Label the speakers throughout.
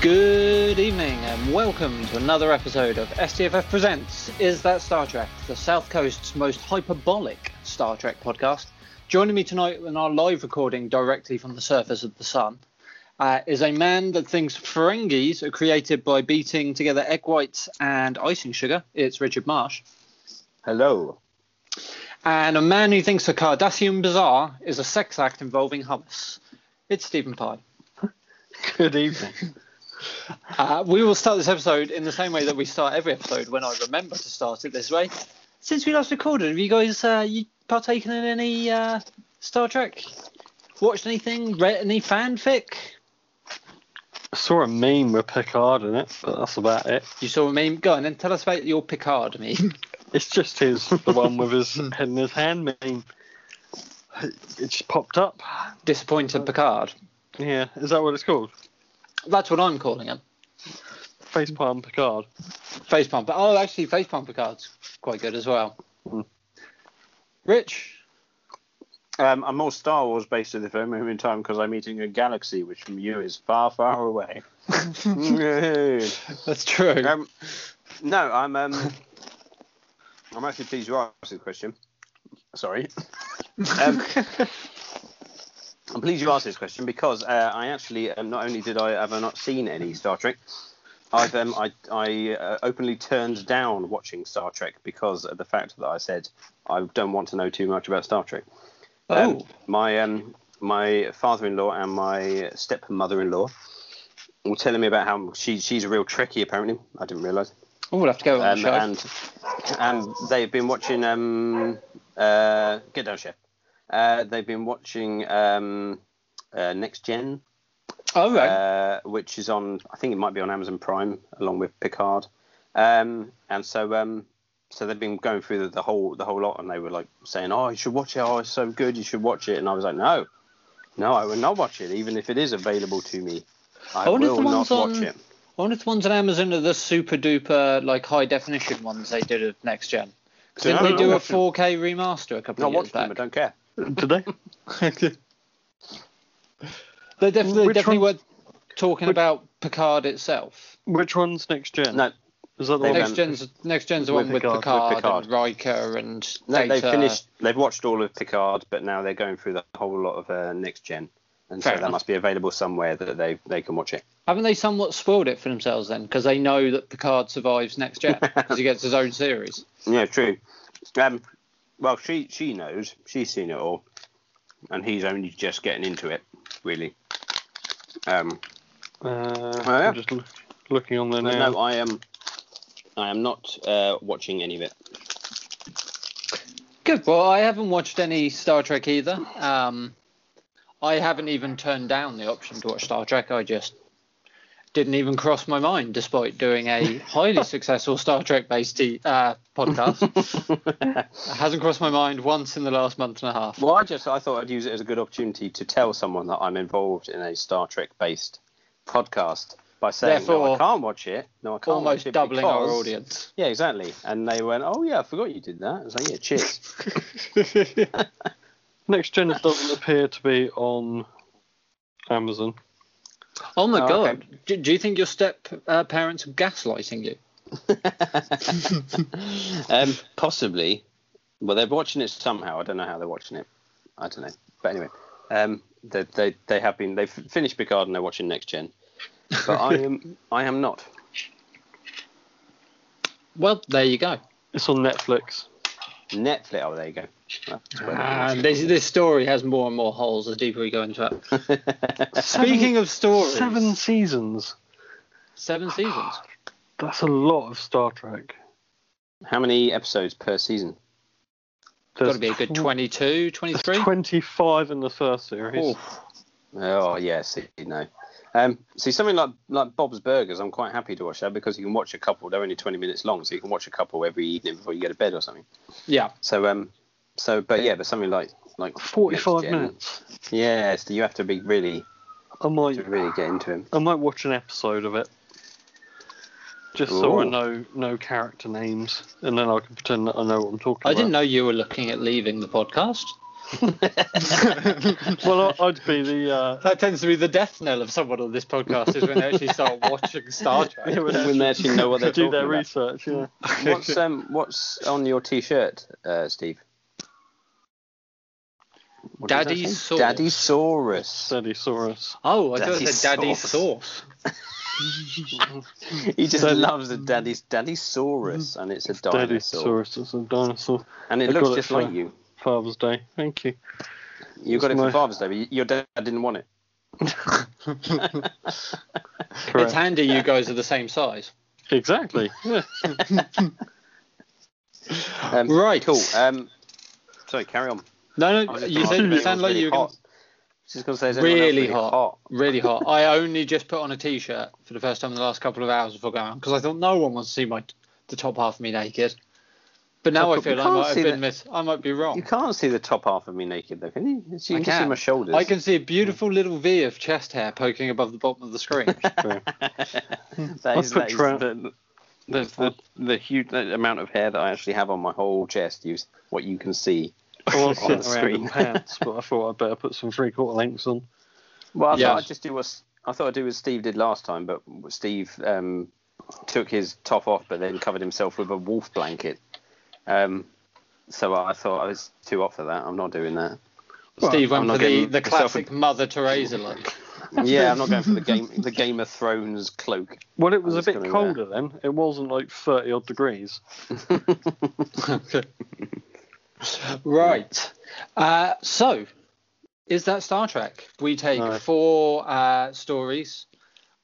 Speaker 1: Good evening and welcome to another episode of STFF Presents Is That Star Trek, the South Coast's most hyperbolic Star Trek podcast. Joining me tonight in our live recording directly from the surface of the sun uh, is a man that thinks Ferengis are created by beating together egg whites and icing sugar. It's Richard Marsh.
Speaker 2: Hello.
Speaker 1: And a man who thinks the Cardassian Bazaar is a sex act involving hummus. It's Stephen Pye.
Speaker 2: Good evening.
Speaker 1: Uh, we will start this episode in the same way that we start every episode when I remember to start it this way. Since we last recorded, have you guys uh, you partaken in any uh, Star Trek? Watched anything? Read any fanfic?
Speaker 2: I saw a meme with Picard in it, but that's about it.
Speaker 1: You saw a meme. Go on and tell us about your Picard meme.
Speaker 2: It's just his, the one with his head in his hand meme. It just popped up. Oh.
Speaker 1: Disappointed Picard.
Speaker 2: Yeah, is that what it's called?
Speaker 1: That's what I'm calling him.
Speaker 2: Facepalm Picard.
Speaker 1: Facepalm. But oh, actually, Facepalm Picard's quite good as well.
Speaker 3: Hmm.
Speaker 1: Rich,
Speaker 3: Um, I'm more Star Wars based at the moment in time because I'm eating a galaxy which from you is far, far away.
Speaker 1: that's true.
Speaker 3: um, no, I'm. Um, I'm actually pleased you asked the question. Sorry, um, I'm pleased you asked this question because uh, I actually um, not only did I have I not seen any Star Trek, I've um, I, I uh, openly turned down watching Star Trek because of the fact that I said I don't want to know too much about Star Trek. Um,
Speaker 1: Oh.
Speaker 3: my um, my father-in-law and my stepmother-in-law were telling me about how she she's a real Trekkie apparently. I didn't realise.
Speaker 1: Oh, we'll have to go on the
Speaker 3: Um,
Speaker 1: show.
Speaker 3: and and they've been watching um uh get down chef. Uh, they've been watching um uh, Next Gen,
Speaker 1: oh, right.
Speaker 3: uh, which is on I think it might be on Amazon Prime along with Picard. Um, and so um so they've been going through the, the whole the whole lot and they were like saying, "Oh, you should watch it. Oh, it's so good. You should watch it." And I was like, "No. No, I will not watch it even if it is available to me. I,
Speaker 1: I wonder if
Speaker 3: will
Speaker 1: the
Speaker 3: not
Speaker 1: ones
Speaker 3: watch
Speaker 1: on-
Speaker 3: it."
Speaker 1: I wonder if the ones on Amazon are the super duper like high definition ones they did of next gen.
Speaker 3: Yeah,
Speaker 1: Didn't
Speaker 3: I
Speaker 1: they
Speaker 3: don't
Speaker 1: do
Speaker 3: know.
Speaker 1: a 4K remaster a couple
Speaker 3: Not
Speaker 1: of years
Speaker 3: watching them.
Speaker 1: back?
Speaker 3: I don't care.
Speaker 2: Did they?
Speaker 1: They definitely,
Speaker 2: Which
Speaker 1: definitely
Speaker 2: one-
Speaker 1: were talking
Speaker 2: which-
Speaker 1: about Picard itself.
Speaker 2: Which one's next gen?
Speaker 3: No,
Speaker 2: Is that the
Speaker 3: They
Speaker 2: one?
Speaker 3: don't-
Speaker 1: Next gen's next gen's the
Speaker 2: With
Speaker 1: one with
Speaker 2: Picard,
Speaker 1: Picard, and
Speaker 2: with
Speaker 1: Riker and
Speaker 3: No,
Speaker 1: Data.
Speaker 3: they've finished. They've watched all of Picard, but now they're going through the whole lot of uh, Next Gen, and
Speaker 1: Fair
Speaker 3: so
Speaker 1: enough.
Speaker 3: that must be available somewhere that they they can watch it.
Speaker 1: Haven't they somewhat spoiled it for themselves then? Because they know that Picard survives next gen because he gets his own series.
Speaker 3: Yeah, true. Um, well, she she knows. She's seen it all, and he's only just getting into it, really. Um,
Speaker 2: Uh,
Speaker 3: Oh, yeah.
Speaker 2: I'm just look, looking on there
Speaker 3: but
Speaker 2: now.
Speaker 3: no, I am. I am not uh, watching any of it.
Speaker 1: Good. Well, I haven't watched any Star Trek either. Um, I haven't even turned down the option to watch Star Trek. I just didn't even cross my mind, despite doing a highly successful Star Trek based t- uh, podcast. it hasn't crossed my mind once in the last month and a half.
Speaker 3: Well, I just I thought I'd use it as a good opportunity to tell someone that I'm involved in a Star Trek based podcast by saying no,
Speaker 1: Therefore,
Speaker 3: I can't watch it. No, I can't watch
Speaker 1: Almost
Speaker 3: it
Speaker 1: doubling our
Speaker 3: because-
Speaker 1: audience.
Speaker 3: Yeah, exactly. And they went, "Oh yeah, I forgot you did that." I was like, "Yeah, cheers."
Speaker 2: Next gen doesn't appear to be on Amazon.
Speaker 1: Oh my
Speaker 3: Oh,
Speaker 1: god!
Speaker 3: okay.
Speaker 1: Do, do you think your step uh, parents are gaslighting you?
Speaker 3: um, possibly. Well, they're watching it somehow. I don't know how they're watching it. I don't know. But anyway, um, they, they they have been they've finished Picard and they're watching Next Gen. But I am I am not.
Speaker 1: Well, there you go.
Speaker 2: It's on Netflix.
Speaker 3: Netflix. Oh, there you go. That's where they're
Speaker 1: And Um, this, this story has more and more holes the deeper we go into it. Speaking of stories,
Speaker 2: Seven seasons.
Speaker 1: seven seasons.
Speaker 2: That's a lot of Star Trek.
Speaker 3: How many episodes per season?
Speaker 1: Got
Speaker 2: There's
Speaker 1: to be a good
Speaker 2: tw-
Speaker 1: 22,
Speaker 2: there's
Speaker 1: 23.
Speaker 2: 25 in the first series.
Speaker 1: Oh,
Speaker 3: Oh yeah, see no. Um, see something like like Bob's Burgers. I'm quite happy to watch that because you can watch a couple. They're only 20 minutes long, so you can watch a couple every evening before you go to bed or something.
Speaker 1: yeah.
Speaker 3: So um, so but yeah, but something like like
Speaker 2: 45
Speaker 3: Next Gen.
Speaker 2: minutes.
Speaker 3: Yeah, so you have to be really
Speaker 2: I might,
Speaker 3: to really get into him.
Speaker 2: I might watch an episode of it. Just so I
Speaker 3: Ooh.
Speaker 2: know no character names, and then I can pretend that I know what I'm talking
Speaker 1: I
Speaker 2: about.
Speaker 1: didn't know you were looking at leaving the podcast.
Speaker 2: well, I- I'd be the uh,
Speaker 1: That tends to be the death knell of someone on this podcast is when they actually start watching Star Trek.
Speaker 2: Yeah, when
Speaker 3: When they actually know what they're
Speaker 2: do
Speaker 3: talking
Speaker 2: their
Speaker 3: about.
Speaker 2: research. Yeah.
Speaker 3: What's um what's on your t-shirt, uh, Steve? What does that
Speaker 1: Daddy
Speaker 3: say?
Speaker 1: Saurus.
Speaker 3: Daddy Saurus.
Speaker 2: Daddy saw us.
Speaker 1: Oh, I thought
Speaker 3: Daddy
Speaker 1: it said Daddy
Speaker 3: Sauce.
Speaker 1: Sauce.
Speaker 3: He just
Speaker 2: Daddy-
Speaker 3: loves the Daddy Daddy Saurus, and it's a
Speaker 2: Daddy
Speaker 3: dinosaur,
Speaker 2: saw us. It's a dinosaur.
Speaker 3: and it
Speaker 2: I
Speaker 3: looks
Speaker 2: got it
Speaker 3: just
Speaker 2: for-
Speaker 3: like you.
Speaker 2: Father's Day. Thank you.
Speaker 3: You got it
Speaker 2: It's
Speaker 3: for
Speaker 2: my-
Speaker 3: Father's Day, but your dad didn't want it.
Speaker 1: It's
Speaker 2: Correct.
Speaker 1: handy you guys are the same size.
Speaker 2: Exactly. Yeah.
Speaker 3: Um,
Speaker 1: Right.
Speaker 3: Cool. Um, sorry, carry on.
Speaker 1: No,
Speaker 3: I
Speaker 1: no,
Speaker 3: was just
Speaker 1: you
Speaker 3: gonna
Speaker 1: said
Speaker 3: ask if
Speaker 1: you
Speaker 3: anyone's
Speaker 1: sound like
Speaker 3: really
Speaker 1: you were
Speaker 3: hot.
Speaker 1: gonna-
Speaker 3: Just gonna say, is anyone else
Speaker 1: really
Speaker 3: really
Speaker 1: hot,
Speaker 3: hot?
Speaker 1: really hot. I only just put on a t-shirt for the first time in the last couple of hours before going on because I thought no one wants to see my the top half of me naked. But now
Speaker 3: Oh,
Speaker 1: I
Speaker 3: but
Speaker 1: feel
Speaker 3: we
Speaker 1: I
Speaker 3: can't
Speaker 1: might have
Speaker 3: see
Speaker 1: been
Speaker 3: that.
Speaker 1: mis- I might be
Speaker 3: You
Speaker 1: wrong.
Speaker 3: can't see the top half of me naked though, can you? You can,
Speaker 1: I
Speaker 3: see my shoulders.
Speaker 1: I can see a beautiful little V of chest hair poking above the bottom of the screen.
Speaker 3: That
Speaker 2: I
Speaker 3: is,
Speaker 2: put
Speaker 3: that is
Speaker 2: tra-
Speaker 3: the, the, the, the huge amount of hair that I actually have on my whole chest is what you can see.
Speaker 2: I was sitting
Speaker 3: On the
Speaker 2: around in
Speaker 3: screen.
Speaker 2: pants, but I thought I'd better put some three quarter lengths on.
Speaker 3: Well, I
Speaker 1: Yeah.
Speaker 3: thought I'd just do what S- I thought I'd do what Steve did last time, but Steve um, took his top off, but then covered himself with a wolf blanket. Um, so I thought I was too hot for that. I'm not doing that.
Speaker 1: Steve went
Speaker 3: I'm not
Speaker 1: for the,
Speaker 3: getting
Speaker 1: the
Speaker 3: myself
Speaker 1: classic Mother Teresa look.
Speaker 3: Yeah, I'm not going for the game the Game of Thrones cloak.
Speaker 2: Well, it was a
Speaker 3: was
Speaker 2: bit
Speaker 3: gonna, uh,
Speaker 2: colder then. It wasn't like 30 odd degrees.
Speaker 1: right. Uh, so, is that Star Trek? We take
Speaker 2: No.
Speaker 1: four uh, stories.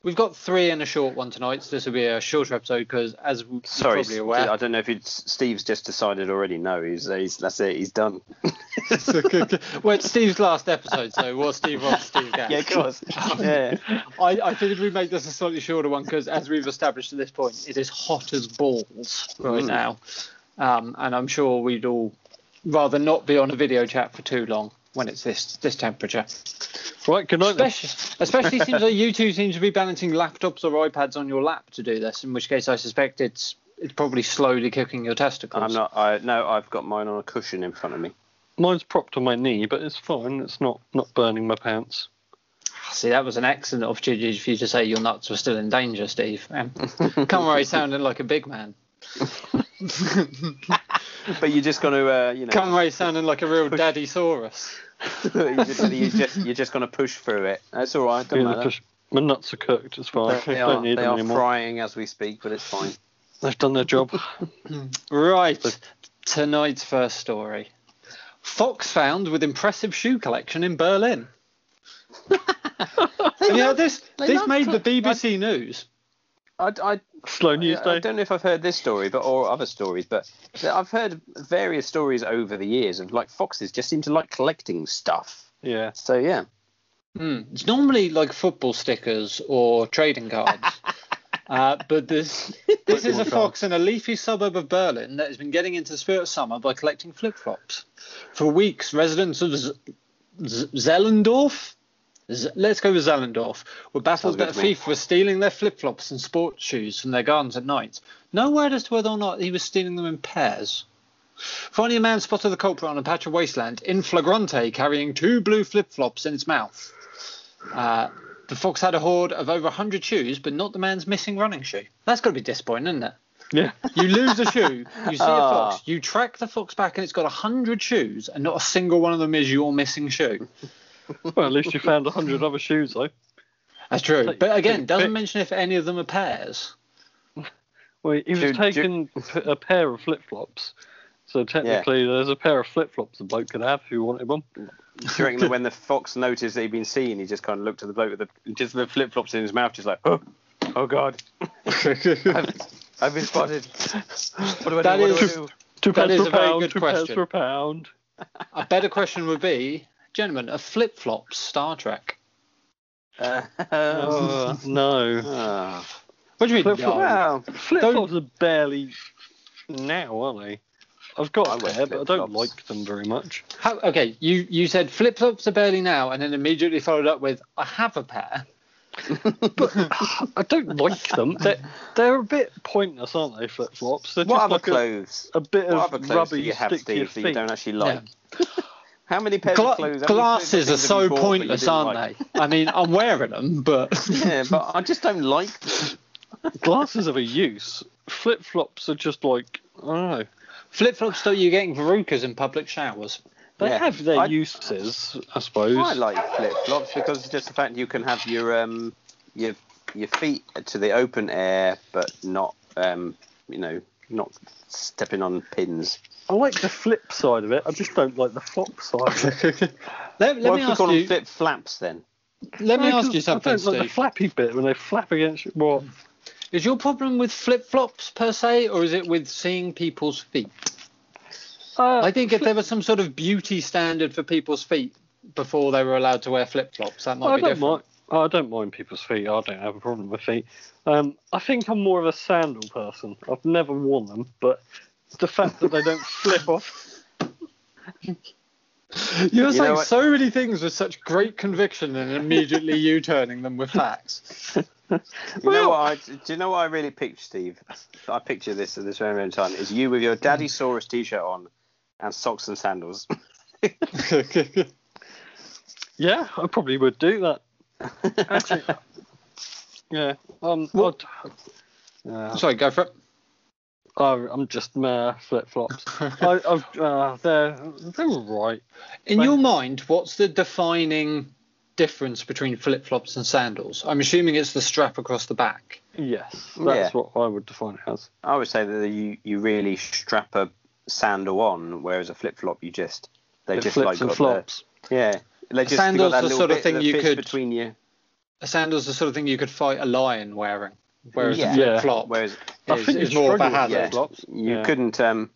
Speaker 1: We've got three and a short one tonight, so this will be a shorter episode because, as we're
Speaker 3: Sorry,
Speaker 1: probably aware,
Speaker 3: I don't know if you'd, Steve's just decided already. No, he's, he's that's it. He's done.
Speaker 1: well, it's Steve's last episode, so what Steve wants, Steve gets.
Speaker 3: Yeah, of course. yeah.
Speaker 1: I, I figured we'd make this a slightly shorter one because, as we've established at this point, it is hot as balls right
Speaker 3: Mm.
Speaker 1: now. Um, and I'm sure we'd all rather not be on a video chat for too long when it's this this temperature.
Speaker 2: Right, good night. then.
Speaker 1: Especially, especially seems like you two seem to be balancing laptops or iPads on your lap to do this, in which case I suspect it's it's probably slowly cooking your testicles.
Speaker 3: I'm not. I no. I've got mine on a cushion in front of me.
Speaker 2: Mine's propped on my knee, but it's fine. It's not, not burning my pants.
Speaker 1: See, that was an excellent opportunity for you to say your nuts were still in danger, Steve. Um, come away sounding like a big man.
Speaker 3: But you're just going to, uh, you know,
Speaker 1: Come away sounding like a real daddy saurus.
Speaker 3: you're just, you're just you're just going to push through it. That's all right. Don't
Speaker 2: Yeah,
Speaker 3: matter.
Speaker 2: just- my nuts are cooked. It's fine.
Speaker 3: They, they
Speaker 2: don't
Speaker 3: are,
Speaker 2: need
Speaker 3: they
Speaker 2: them
Speaker 3: are
Speaker 2: anymore.
Speaker 3: frying as we speak, but it's fine.
Speaker 2: They've done their job.
Speaker 1: Right, tonight's first story. Fox found with impressive shoe collection in Berlin. you know, this
Speaker 3: they
Speaker 1: this
Speaker 3: love
Speaker 1: made the
Speaker 3: cl-
Speaker 1: BBC news.
Speaker 3: I, I,
Speaker 2: Slow news
Speaker 3: I,
Speaker 2: day.
Speaker 3: don't know if I've heard this story, but or other stories, but I've heard various stories over the years of like foxes just seem to like collecting stuff.
Speaker 2: Yeah.
Speaker 3: So yeah,
Speaker 1: Hmm, It's normally like football stickers or trading cards. Uh, but this this is a
Speaker 2: Football
Speaker 1: fox in a leafy suburb of Berlin that has been getting into the spirit of summer by collecting flip flops. For weeks, residents of Z- Z- Zehlendorf, Z- let's go with Zehlendorf, were baffled
Speaker 3: Sounds good
Speaker 1: that a
Speaker 3: to me.
Speaker 1: thief was stealing their flip flops and sports shoes from their gardens at night. No word as to whether or not he was stealing them in pairs. Finally, a man spotted the culprit on a patch of wasteland in flagrante carrying two blue flip flops in its mouth. Uh, the fox had a hoard of over 100 shoes, but not the man's missing running shoe. That's got to be disappointing, isn't it?
Speaker 2: Yeah.
Speaker 1: You lose a shoe, you see a
Speaker 3: Ah.
Speaker 1: fox, you track the fox back, and it's got 100 shoes, and not a single one of them is your missing shoe.
Speaker 2: Well, at least you found a 100 other shoes, though.
Speaker 1: That's true. But again, doesn't
Speaker 2: But-
Speaker 1: mention if any of them are pairs.
Speaker 2: Well, he was
Speaker 3: Dude, dude-
Speaker 2: taking p- a pair of flip flops. So technically, there's a pair of flip flops the bloke could have if he wanted one.
Speaker 3: do you reckon that when the fox noticed that he'd been seen, he just kind of looked at the bloke with the just the flip flops in his mouth, just like, oh, oh god, I've been spotted. What do I
Speaker 1: That
Speaker 3: do? What
Speaker 1: is-
Speaker 3: do I do?
Speaker 2: Two
Speaker 1: That
Speaker 2: pounds
Speaker 1: is
Speaker 2: per
Speaker 1: a very
Speaker 2: pound,
Speaker 1: good
Speaker 2: two
Speaker 1: question.
Speaker 2: pounds per pound.
Speaker 1: A better question would be, gentlemen, are flip flops Star Trek?
Speaker 3: Uh,
Speaker 2: no.
Speaker 3: oh.
Speaker 1: What do you mean?
Speaker 2: Flip-flop.
Speaker 1: no?
Speaker 3: Well,
Speaker 2: Flip flops are barely now, aren't they? I've got
Speaker 3: I
Speaker 2: a
Speaker 3: wear
Speaker 2: pair, but I don't
Speaker 3: flip-flops.
Speaker 2: like them very much.
Speaker 1: How, okay, you, you said flip flops are barely now, and then immediately followed up with, I have a pair.
Speaker 2: But I don't like them. They're, they're a bit pointless, aren't they, flip flops? They're
Speaker 3: what
Speaker 2: just
Speaker 3: other
Speaker 2: like a-
Speaker 3: clothes?
Speaker 2: a, bit
Speaker 3: What
Speaker 2: of
Speaker 3: other clothes
Speaker 2: rubby
Speaker 3: do you have,
Speaker 2: stick to your
Speaker 3: Steve, that you
Speaker 2: feet.
Speaker 3: don't actually like? How many pairs
Speaker 1: Gla-
Speaker 3: of clothes? how many
Speaker 1: glasses are
Speaker 3: pairs of things have you
Speaker 1: so
Speaker 3: bought that you
Speaker 1: pointless,
Speaker 3: didn't
Speaker 1: aren't
Speaker 3: like?
Speaker 1: they? I mean, I'm wearing them, but
Speaker 3: Yeah, but I just don't like them.
Speaker 2: Glasses are a use. Flip flops are just like I don't know.
Speaker 1: flip flops that you're getting verrucas in public showers.
Speaker 2: They
Speaker 3: Yeah.
Speaker 2: have their
Speaker 3: I-
Speaker 2: uses, I suppose.
Speaker 3: I like flip flops because it's just the fact you can have your um your your feet to the open air, but not um you know not stepping on pins.
Speaker 2: I like the flip side of it. I just don't like the flop side. Of it.
Speaker 1: Let, let
Speaker 3: What
Speaker 1: me
Speaker 3: if we
Speaker 1: ask
Speaker 3: call
Speaker 1: you.
Speaker 3: them flip flaps then?
Speaker 1: Let me
Speaker 2: No,
Speaker 1: ask
Speaker 2: 'cause
Speaker 1: you
Speaker 2: I
Speaker 1: something,
Speaker 2: don't like the
Speaker 1: Steve.
Speaker 2: flappy bit when they flap against you. What?
Speaker 1: Is your problem with flip flops per se, or is it with seeing people's feet?
Speaker 2: Uh,
Speaker 1: I think if there was some sort of beauty standard for people's feet before they were allowed to wear flip flops, that might
Speaker 2: I
Speaker 1: be
Speaker 2: don't
Speaker 1: different.
Speaker 2: mind. I don't mind people's feet. I don't have a problem with feet. Um, I think I'm more of a sandal person. I've never worn them, but the fact that they don't flip off.
Speaker 1: You're
Speaker 3: You know
Speaker 1: saying
Speaker 3: what-
Speaker 1: so many things with such great conviction and immediately you turning them with facts.
Speaker 3: You know what? I, do you know what I really picture, Steve? I picture this at this very moment in time is you with your daddy Saurus t-shirt on and socks and sandals.
Speaker 2: Yeah, I probably would do that. Actually, yeah. Um,
Speaker 1: What-
Speaker 2: I'd- yeah,
Speaker 1: Sorry, go for it.
Speaker 2: I- I'm just uh, flip flops. I've uh, they're they're all right.
Speaker 1: In
Speaker 2: Right.
Speaker 1: your mind, what's the defining difference between flip flops and sandals? I'm assuming it's the strap across the back.
Speaker 2: Yes, that's what I would define it as.
Speaker 3: I would say that you, you really strap a sandal on, whereas a flip flop you just they
Speaker 2: It
Speaker 3: just
Speaker 2: flips
Speaker 3: like
Speaker 2: and
Speaker 3: got
Speaker 2: flops.
Speaker 3: The, yeah. They just
Speaker 1: sandal's
Speaker 3: got
Speaker 1: the
Speaker 3: that little
Speaker 1: sort of
Speaker 3: bit
Speaker 1: thing
Speaker 3: that
Speaker 1: you
Speaker 3: fits
Speaker 1: could-
Speaker 3: between you.
Speaker 1: A sandal's the sort of thing you could fight a lion wearing, whereas
Speaker 3: Yeah.
Speaker 1: a flip flop
Speaker 3: Whereas
Speaker 2: I
Speaker 1: is,
Speaker 2: think
Speaker 1: is
Speaker 2: you
Speaker 1: more of a
Speaker 2: struggle with
Speaker 1: hazard.
Speaker 3: yeah.
Speaker 2: flip-flops.
Speaker 3: you
Speaker 2: Yeah.
Speaker 3: couldn't um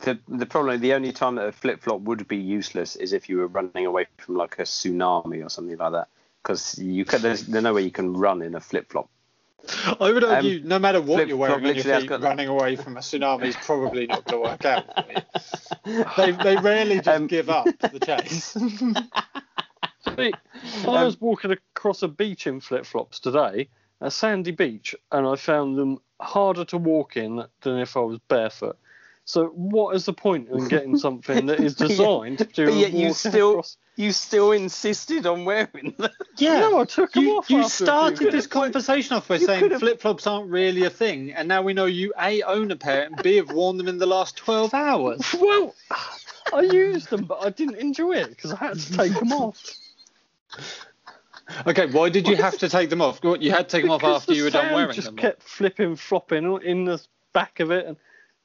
Speaker 3: the the problem the only time that a flip flop would be useless is if you were running away from like a tsunami or something like that. Because you could, there's, there's no way you can run in a flip flop.
Speaker 1: I
Speaker 2: Um,
Speaker 1: would argue, no matter what
Speaker 3: flip
Speaker 1: you're wearing
Speaker 3: flop
Speaker 1: on your
Speaker 3: literally has
Speaker 1: feet,
Speaker 3: got-
Speaker 1: running away from a tsunami is probably not going to work out. For me. They they rarely just
Speaker 3: Um,
Speaker 1: give up the chase.
Speaker 2: Mate,
Speaker 3: Um,
Speaker 2: I was walking across a beach in flip flops today, a sandy beach, and I found them harder to walk in than if I was barefoot. So what is the point in getting something that is designed to?
Speaker 3: But yet you
Speaker 2: walk
Speaker 3: still-
Speaker 2: Across?
Speaker 3: You still insisted on wearing them.
Speaker 1: Yeah.
Speaker 2: No, I took them
Speaker 1: You,
Speaker 2: off.
Speaker 1: you
Speaker 2: after a few
Speaker 1: started
Speaker 2: minutes.
Speaker 1: this conversation off by saying
Speaker 3: could've-
Speaker 1: flip flops aren't really a thing, and now we know you A, own a pair, and B, have worn them in the last 12 hours.
Speaker 2: Well, I used them, but I didn't enjoy it because I had to take them off.
Speaker 1: Okay, why did you have to take them off? What, You had to take them off
Speaker 2: Because
Speaker 1: after
Speaker 2: the
Speaker 1: you were done
Speaker 2: sand
Speaker 1: wearing
Speaker 2: just
Speaker 1: them.
Speaker 2: kept flipping, flopping in the back of it, and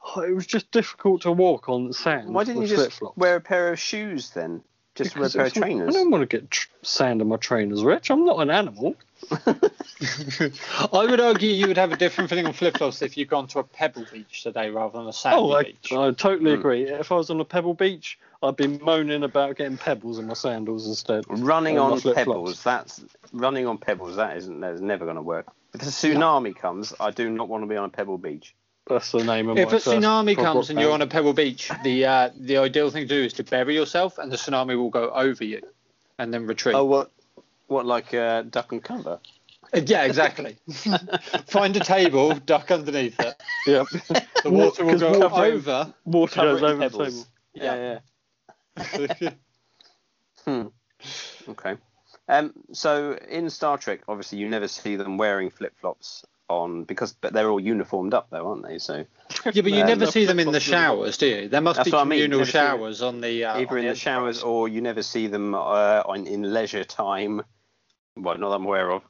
Speaker 2: oh, it was just difficult to walk on the sand.
Speaker 3: Why didn't you
Speaker 2: with
Speaker 3: just
Speaker 2: flip-flops.
Speaker 3: wear a pair of shoes then? Just
Speaker 2: Because
Speaker 3: wear a
Speaker 2: it's
Speaker 3: pair
Speaker 2: not-
Speaker 3: of trainers.
Speaker 2: I don't want to get tr- sand on my trainers, Rich. I'm not an animal.
Speaker 1: I would argue you would have a different feeling on flip flops if you'd gone to a pebble beach today rather than a sandy
Speaker 2: I,
Speaker 1: beach.
Speaker 2: I totally
Speaker 3: Hmm.
Speaker 2: agree. If I was on a pebble beach, I'd be moaning about getting pebbles in my sandals instead.
Speaker 3: Running
Speaker 2: Oh, my
Speaker 3: on
Speaker 2: flip-flops.
Speaker 3: pebbles. That's running on pebbles. That isn't. That's never going to work. If a tsunami comes, I do not want to be on a pebble beach.
Speaker 2: That's the name of
Speaker 1: If
Speaker 2: my
Speaker 1: a tsunami comes and you're on a pebble beach, the uh, the ideal thing to do is to bury yourself, and the tsunami will go over you, and then retreat.
Speaker 3: Oh, what? What like uh, duck and cover?
Speaker 1: Uh, yeah, exactly. Find a table, duck underneath it.
Speaker 2: yep.
Speaker 1: The water will
Speaker 2: 'Cause
Speaker 1: go
Speaker 2: water-
Speaker 1: over.
Speaker 2: water
Speaker 3: Cover
Speaker 2: goes
Speaker 3: it in
Speaker 2: over the
Speaker 3: pebbles.
Speaker 2: table.
Speaker 3: Yeah. yeah. Okay. Um, so in Star Trek, obviously you never see them wearing flip flops on because, but they're all uniformed up though, aren't they? So
Speaker 1: yeah, but you
Speaker 3: Man,
Speaker 1: never
Speaker 2: the
Speaker 1: see them in the
Speaker 2: flip-flops are-
Speaker 1: showers, do you? There must
Speaker 3: That's
Speaker 1: be
Speaker 3: what I mean,
Speaker 1: communal
Speaker 3: never see them.
Speaker 1: showers on the. Uh,
Speaker 3: either
Speaker 1: on
Speaker 3: in the showers or you never see them uh, on, in leisure time. Well, not that I'm aware of.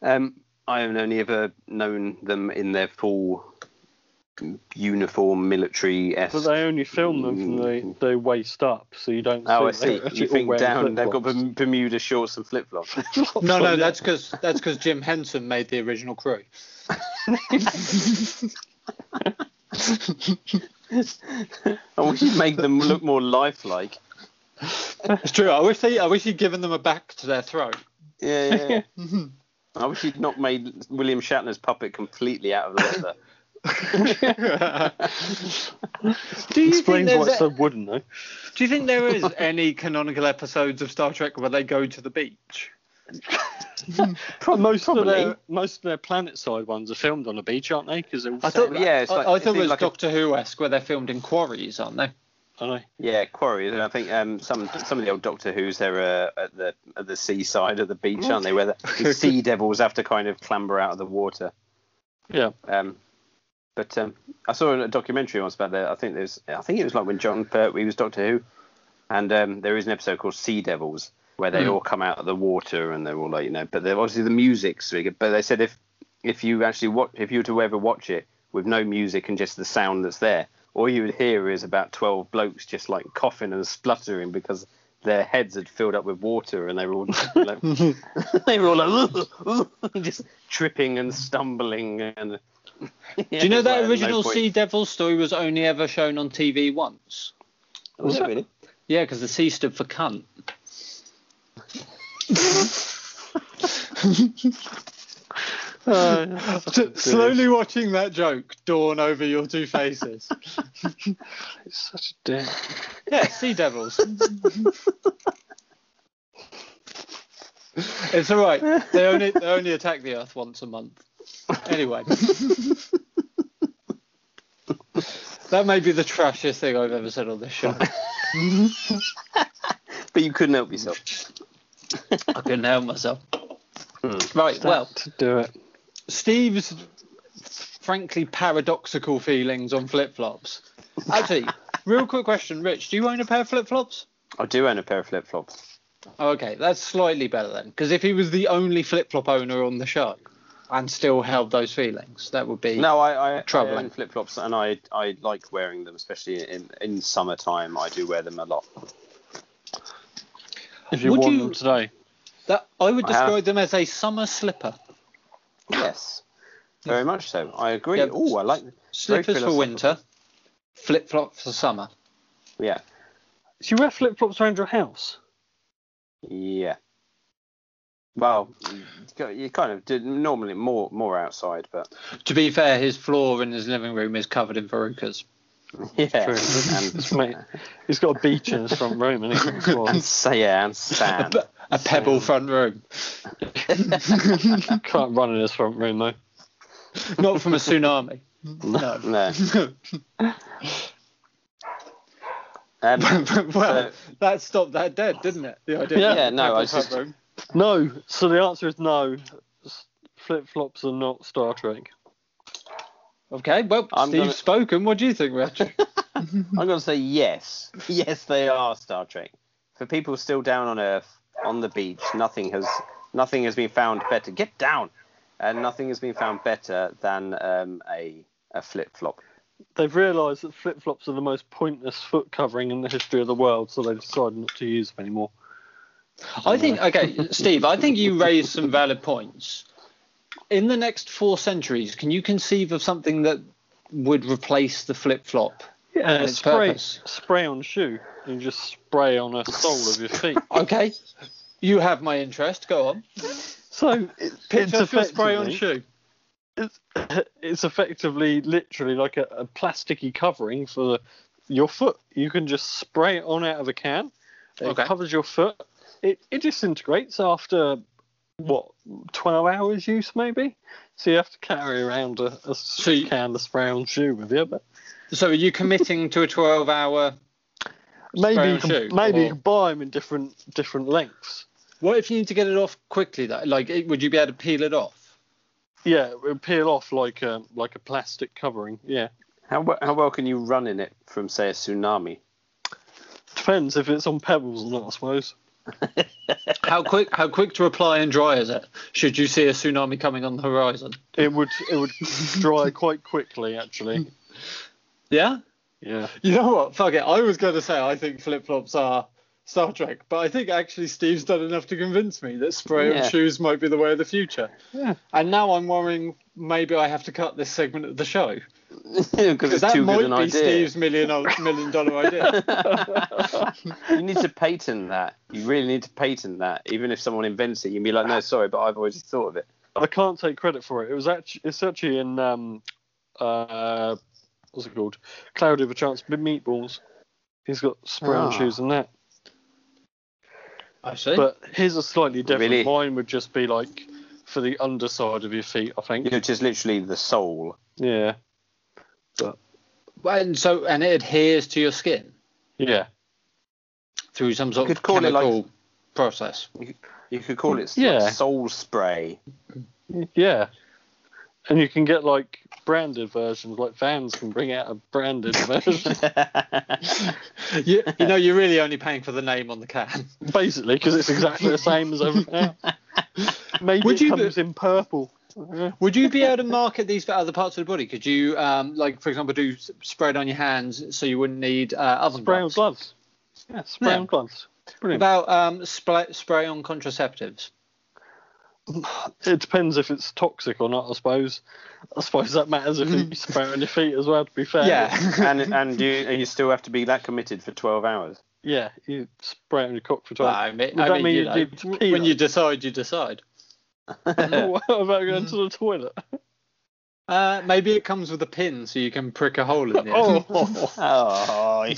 Speaker 3: Um, I have only ever known them in their full uniform military esque.
Speaker 2: But they only film them from the, the waist up, so you don't
Speaker 3: Hmm. Oh, I
Speaker 2: see.
Speaker 3: see.
Speaker 2: they're actually
Speaker 3: You
Speaker 2: all
Speaker 3: think
Speaker 2: wearing
Speaker 3: down? They've got
Speaker 2: flip-flops.
Speaker 3: Berm- Bermuda shorts and flip flops.
Speaker 1: No, no, that's because that's because Jim Henson made the original crew.
Speaker 3: I wish you'd make them look more lifelike.
Speaker 1: It's true. I wish they, I wish he'd given them a back to their throat.
Speaker 3: Yeah, yeah. yeah. I wish he'd not made William Shatner's puppet completely out of leather.
Speaker 1: do you
Speaker 2: Explains
Speaker 1: think
Speaker 2: why
Speaker 1: there's
Speaker 2: it's so wooden though.
Speaker 1: Do you think there is any canonical episodes of Star Trek where they go to the beach?
Speaker 2: most
Speaker 3: probably.
Speaker 2: of their most of their planet side ones are filmed on a beach, aren't they? Because
Speaker 1: I thought,
Speaker 3: yeah, it's
Speaker 1: I-
Speaker 3: like-
Speaker 1: I,
Speaker 3: it
Speaker 1: thought it
Speaker 3: seems
Speaker 1: was
Speaker 3: like a-
Speaker 1: Doctor Who esque where they're filmed in quarries, aren't they?
Speaker 2: I know.
Speaker 3: Yeah, quarries. And I think um, some some of the old Doctor Who's there uh, at the at the seaside at the beach, aren't they? Where the, the sea devils have to kind of clamber out of the water.
Speaker 2: Yeah.
Speaker 3: Um, but um, I saw a documentary once about that. I think there's I think it was like when John Pertwee was Doctor Who, and um, there is an episode called Sea Devils where they
Speaker 2: Hmm.
Speaker 3: all come out of the water and they're all like you know. But they're obviously the music's really good. But they said if if you actually watch if you were to ever watch it with no music and just the sound that's there, all you would hear is about twelve blokes just like coughing and spluttering because their heads had filled up with water and they were all like, they were all like just tripping and stumbling and.
Speaker 1: Do you know that original Sea Devil story was only ever shown on TV once?
Speaker 3: Was it really?
Speaker 1: Yeah, because the C stood for cunt.
Speaker 2: Uh,
Speaker 1: Slowly watching that joke dawn over your two faces.
Speaker 2: it's such a dick.
Speaker 1: yeah, Sea Devils. it's all right. They only they only attack the Earth once a month. Anyway. That may be the trashiest thing I've ever said on this show.
Speaker 3: But you couldn't help yourself.
Speaker 1: I couldn't help myself.
Speaker 3: Hmm.
Speaker 1: Right, well,
Speaker 2: to do it.
Speaker 1: Steve's frankly paradoxical feelings on flip flops. Actually, real quick question, Rich, do you own a pair of flip flops?
Speaker 3: I do own a pair of flip flops.
Speaker 1: Okay, that's slightly better then, because if he was the only flip flop owner on the show and still held those feelings, that would be.
Speaker 3: No, I, I, I
Speaker 1: Troubling.
Speaker 3: own flip flops, and I, I like wearing them, especially in, in summertime. I do wear them a lot.
Speaker 2: If you
Speaker 1: Would
Speaker 2: want
Speaker 1: you-
Speaker 2: them today,
Speaker 1: That I would
Speaker 3: I have-
Speaker 1: describe them as a summer slipper.
Speaker 3: Yes, very much so. I agree.
Speaker 1: Yeah.
Speaker 3: Oh, I like.
Speaker 1: Slippers for
Speaker 3: philosophical.
Speaker 1: winter, flip flops for summer.
Speaker 3: Yeah,
Speaker 2: do you wear flip flops around your house?
Speaker 3: yeah. Well, you- you kind of did normally more more outside, but
Speaker 1: To be fair, his floor in his living room is covered in verrucas.
Speaker 3: yeah,
Speaker 2: It's
Speaker 3: and,
Speaker 2: mate, he's got a beach in his front room, and he can explore.
Speaker 3: and so yeah, and sand.
Speaker 1: But a pebble front room,
Speaker 2: can't run in his front room though.
Speaker 1: not from a tsunami. No.
Speaker 3: no. Um,
Speaker 1: well, that stopped that dead, didn't it? The idea.
Speaker 2: Yeah.
Speaker 1: of
Speaker 3: Yeah, no,
Speaker 1: pebble
Speaker 3: I was
Speaker 1: front
Speaker 3: just-
Speaker 1: room.
Speaker 2: No. So the answer is no. Flip flops are not Star Trek.
Speaker 1: Okay, well,
Speaker 3: I'm
Speaker 1: Steve's
Speaker 3: gonna-
Speaker 1: spoken. What do you think, Rich?
Speaker 3: I'm going to say yes. Yes, they are Star Trek. For people still down on Earth, on the beach, nothing has nothing has been found better. Get down, and nothing has been found better than um, a a flip flop.
Speaker 2: They've realised that flip flops are the most pointless foot covering in the history of the world, so they've decided not to use them anymore.
Speaker 1: I think okay, Steve. I think you raised some valid points. In the next four centuries, can you conceive of something that would replace the flip flop?
Speaker 2: Yeah,
Speaker 1: its
Speaker 2: spray,
Speaker 1: purpose.
Speaker 2: spray on shoe. You just spray on a sole of your feet.
Speaker 1: Okay, you have my interest. Go on.
Speaker 2: So
Speaker 1: Picture
Speaker 2: it's
Speaker 1: your spray on
Speaker 2: effectively-
Speaker 1: shoe.
Speaker 2: It's, it's effectively, literally, like a, a plasticky covering for the, your foot. You can just spray it on out of a can. It
Speaker 1: Okay.
Speaker 2: covers your foot. It, it disintegrates after what 12 hours use maybe. So you have to carry around a, a
Speaker 1: So you-
Speaker 2: can of spray on shoe with you, but
Speaker 1: So, are you committing to a twelve-hour?
Speaker 2: maybe
Speaker 1: on
Speaker 2: you can,
Speaker 1: shoe,
Speaker 2: maybe
Speaker 1: or-
Speaker 2: you can buy them in different different lengths.
Speaker 1: What if you need to get it off quickly? Though, like, it, would you be able to peel it off?
Speaker 2: Yeah, it would peel off like a like a plastic covering. Yeah,
Speaker 3: How we- how well can you run in it from say a tsunami?
Speaker 2: depends if it's on pebbles or not, I suppose.
Speaker 1: How quick? How quick to apply and dry is it? Should you see a tsunami coming on the horizon?
Speaker 2: It would it would dry quite quickly actually.
Speaker 1: Yeah.
Speaker 2: Yeah.
Speaker 1: You know what? Fuck it. I was going to say I think flip flops are Star Trek, but I think actually Steve's done enough to convince me that spray
Speaker 3: Yeah.
Speaker 1: on shoes might be the way of the future.
Speaker 2: Yeah.
Speaker 1: And now I'm worrying maybe I have to cut this segment of the show
Speaker 3: Because
Speaker 1: because
Speaker 3: it's
Speaker 1: that
Speaker 3: too
Speaker 1: might be
Speaker 3: good an idea.
Speaker 1: Steve's million million dollar idea.
Speaker 3: you need to patent that. You really need to patent that. Even if someone invents it, you'd be like, no, sorry, but I've already thought of it.
Speaker 2: I can't take credit for it. It was actually it's actually in um uh what's it called? Cloud of a Chance with meatballs. He's got spray on
Speaker 3: Ah.
Speaker 2: shoes and that.
Speaker 1: I see.
Speaker 2: But his are slightly different.
Speaker 3: Really?
Speaker 2: Mine would just be like for the underside of your feet, I think.
Speaker 3: You know, just literally the soul.
Speaker 2: Yeah.
Speaker 1: and so and it adheres to your skin.
Speaker 2: Yeah.
Speaker 1: through some sort
Speaker 3: could
Speaker 1: of
Speaker 3: call it like-
Speaker 1: chemical process.
Speaker 3: You could call it
Speaker 2: Yeah.
Speaker 3: like soul spray.
Speaker 2: Yeah. And you can get like branded versions, like Vans can bring out a branded version,
Speaker 1: you, you know, you're really only paying for the name on the can.
Speaker 2: basically, because it's exactly the same as everything else. Maybe
Speaker 1: Would
Speaker 2: it
Speaker 1: you
Speaker 2: comes in purple. Yeah.
Speaker 1: Would you be able to market these for other parts of the body? Could you, um, like, for example, do s- spread on your hands so you wouldn't need uh, oven
Speaker 2: Spray on
Speaker 1: gloves?
Speaker 2: gloves. Yeah, spray
Speaker 1: Yeah.
Speaker 2: on gloves. Brilliant.
Speaker 1: About um, spray, spray on contraceptives.
Speaker 2: It depends if it's toxic or not, I suppose. I suppose that matters if you spray on your feet as well, to be fair.
Speaker 1: Mm. yeah.
Speaker 3: and and you and you still have to be that committed for 12 hours.
Speaker 2: Yeah, you spray on your cock for 12
Speaker 1: Well, I mean,
Speaker 2: Would
Speaker 1: I
Speaker 2: that
Speaker 1: mean,
Speaker 2: mean
Speaker 1: you
Speaker 2: you
Speaker 1: know,
Speaker 2: did
Speaker 1: w-
Speaker 2: pee
Speaker 1: when
Speaker 2: on
Speaker 1: you
Speaker 2: it?
Speaker 1: decide, you decide.
Speaker 2: what about going to the toilet?
Speaker 1: Uh, maybe it comes with a pin so you can prick a hole in it.
Speaker 2: Oh.
Speaker 3: Oh, yeah.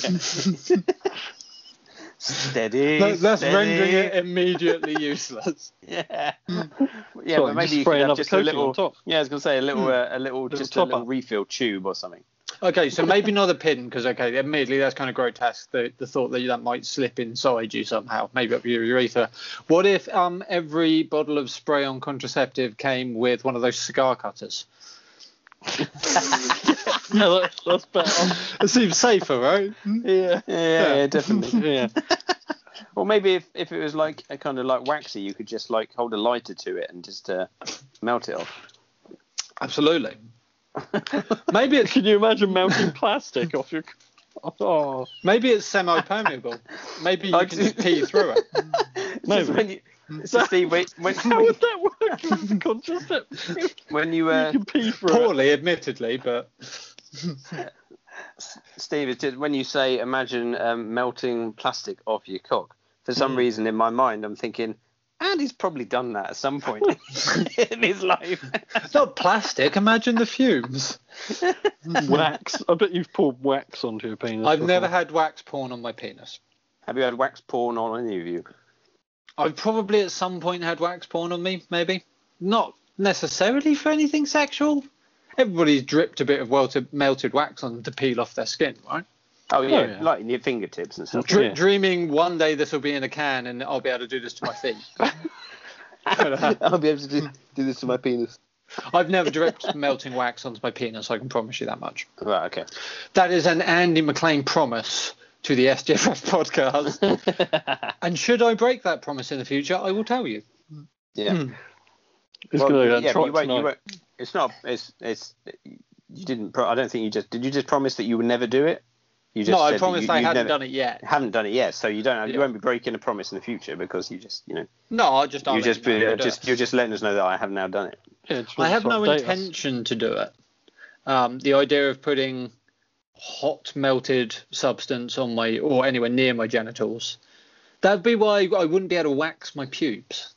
Speaker 3: steady.
Speaker 1: That- that's
Speaker 3: steady.
Speaker 1: rendering it immediately useless.
Speaker 3: Yeah, yeah,
Speaker 2: Sorry,
Speaker 3: but maybe you
Speaker 2: spray
Speaker 3: could have
Speaker 2: another
Speaker 3: just a
Speaker 2: coating
Speaker 3: little.
Speaker 2: on top. Hmm.
Speaker 3: Yeah, I was gonna say a little, uh, a little, just a
Speaker 2: top
Speaker 3: little
Speaker 2: up.
Speaker 3: refill tube or something.
Speaker 1: Okay, so maybe not a pin because okay, admittedly that's kind of grotesque. The, the thought that that might slip inside you somehow, maybe up your urethra. What if um every bottle of spray on contraceptive came with one of those cigar cutters?
Speaker 2: Yeah, that, that's better.
Speaker 1: It seems safer, right?
Speaker 2: yeah.
Speaker 3: Yeah, yeah, definitely.
Speaker 2: Yeah.
Speaker 3: or maybe if, if it was like a kind of like waxy, you could just like hold a lighter to it and just uh, melt it off.
Speaker 1: Absolutely. maybe it's
Speaker 2: Can you imagine melting plastic off your. Oh,
Speaker 1: maybe it's semi-permeable. Maybe you
Speaker 3: I
Speaker 1: can
Speaker 3: do-
Speaker 1: just pee through it.
Speaker 3: No, just when you, so Steve, when, when,
Speaker 2: how would that work with the contraceptive?
Speaker 3: when you,
Speaker 2: You
Speaker 3: uh,
Speaker 2: can pee through it.
Speaker 1: Poorly, admittedly, but
Speaker 3: Steve, it's just when you say imagine um, melting plastic off your cock. For
Speaker 1: Hmm.
Speaker 3: some reason, in my mind, I'm thinking, Andy's probably done that at some point in his life.
Speaker 1: it's not plastic. Imagine the fumes.
Speaker 2: Wax. I bet you've poured wax onto your penis.
Speaker 1: I've
Speaker 2: before.
Speaker 1: never had wax porn on my penis.
Speaker 3: Have you had wax porn on any of you?
Speaker 1: I've probably at some point had wax porn on me, maybe. Not necessarily for anything sexual. Everybody's dripped a bit of welted, melted wax on to peel off their skin, right?
Speaker 3: Oh yeah,
Speaker 2: yeah.
Speaker 3: like in your fingertips and stuff.
Speaker 1: Dr-
Speaker 2: Yeah.
Speaker 1: Dreaming one day this will be in a can and I'll be able to do this to my feet.
Speaker 3: I'll be able to do, do this to my penis.
Speaker 1: I've never dripped melting wax onto my penis, I can promise you that much.
Speaker 3: Right, okay.
Speaker 1: That is an Andy McLean promise to the SDFF podcast. and should I break that promise in the future, I will tell you.
Speaker 3: Yeah.
Speaker 1: Hmm.
Speaker 2: It's
Speaker 3: Well,
Speaker 2: going to go
Speaker 3: yeah,
Speaker 2: yeah,
Speaker 3: but you
Speaker 2: tonight.
Speaker 3: won't, you won't, it's not. It's it's. You didn't. Pro- I don't think you just. Did you just promise that you would never do it? You just
Speaker 1: No,
Speaker 3: said
Speaker 1: I
Speaker 3: that
Speaker 1: promised
Speaker 3: you,
Speaker 1: I hadn't done it yet.
Speaker 3: Haven't done it yet, so you don't. Have,
Speaker 1: Yeah.
Speaker 3: You won't be breaking a promise in the future because you just. You know.
Speaker 1: No, I just. I'll
Speaker 3: you
Speaker 1: let
Speaker 3: just.
Speaker 1: know
Speaker 3: be-
Speaker 1: if I
Speaker 3: uh,
Speaker 1: do
Speaker 3: just.
Speaker 1: it.
Speaker 3: You're just letting us know that I have now done it.
Speaker 2: Yeah, just
Speaker 1: I have no
Speaker 2: update us.
Speaker 1: intention to do it. Um, the idea of putting hot melted substance on my or anywhere near my genitals, that'd be why I wouldn't be able to wax my pubes.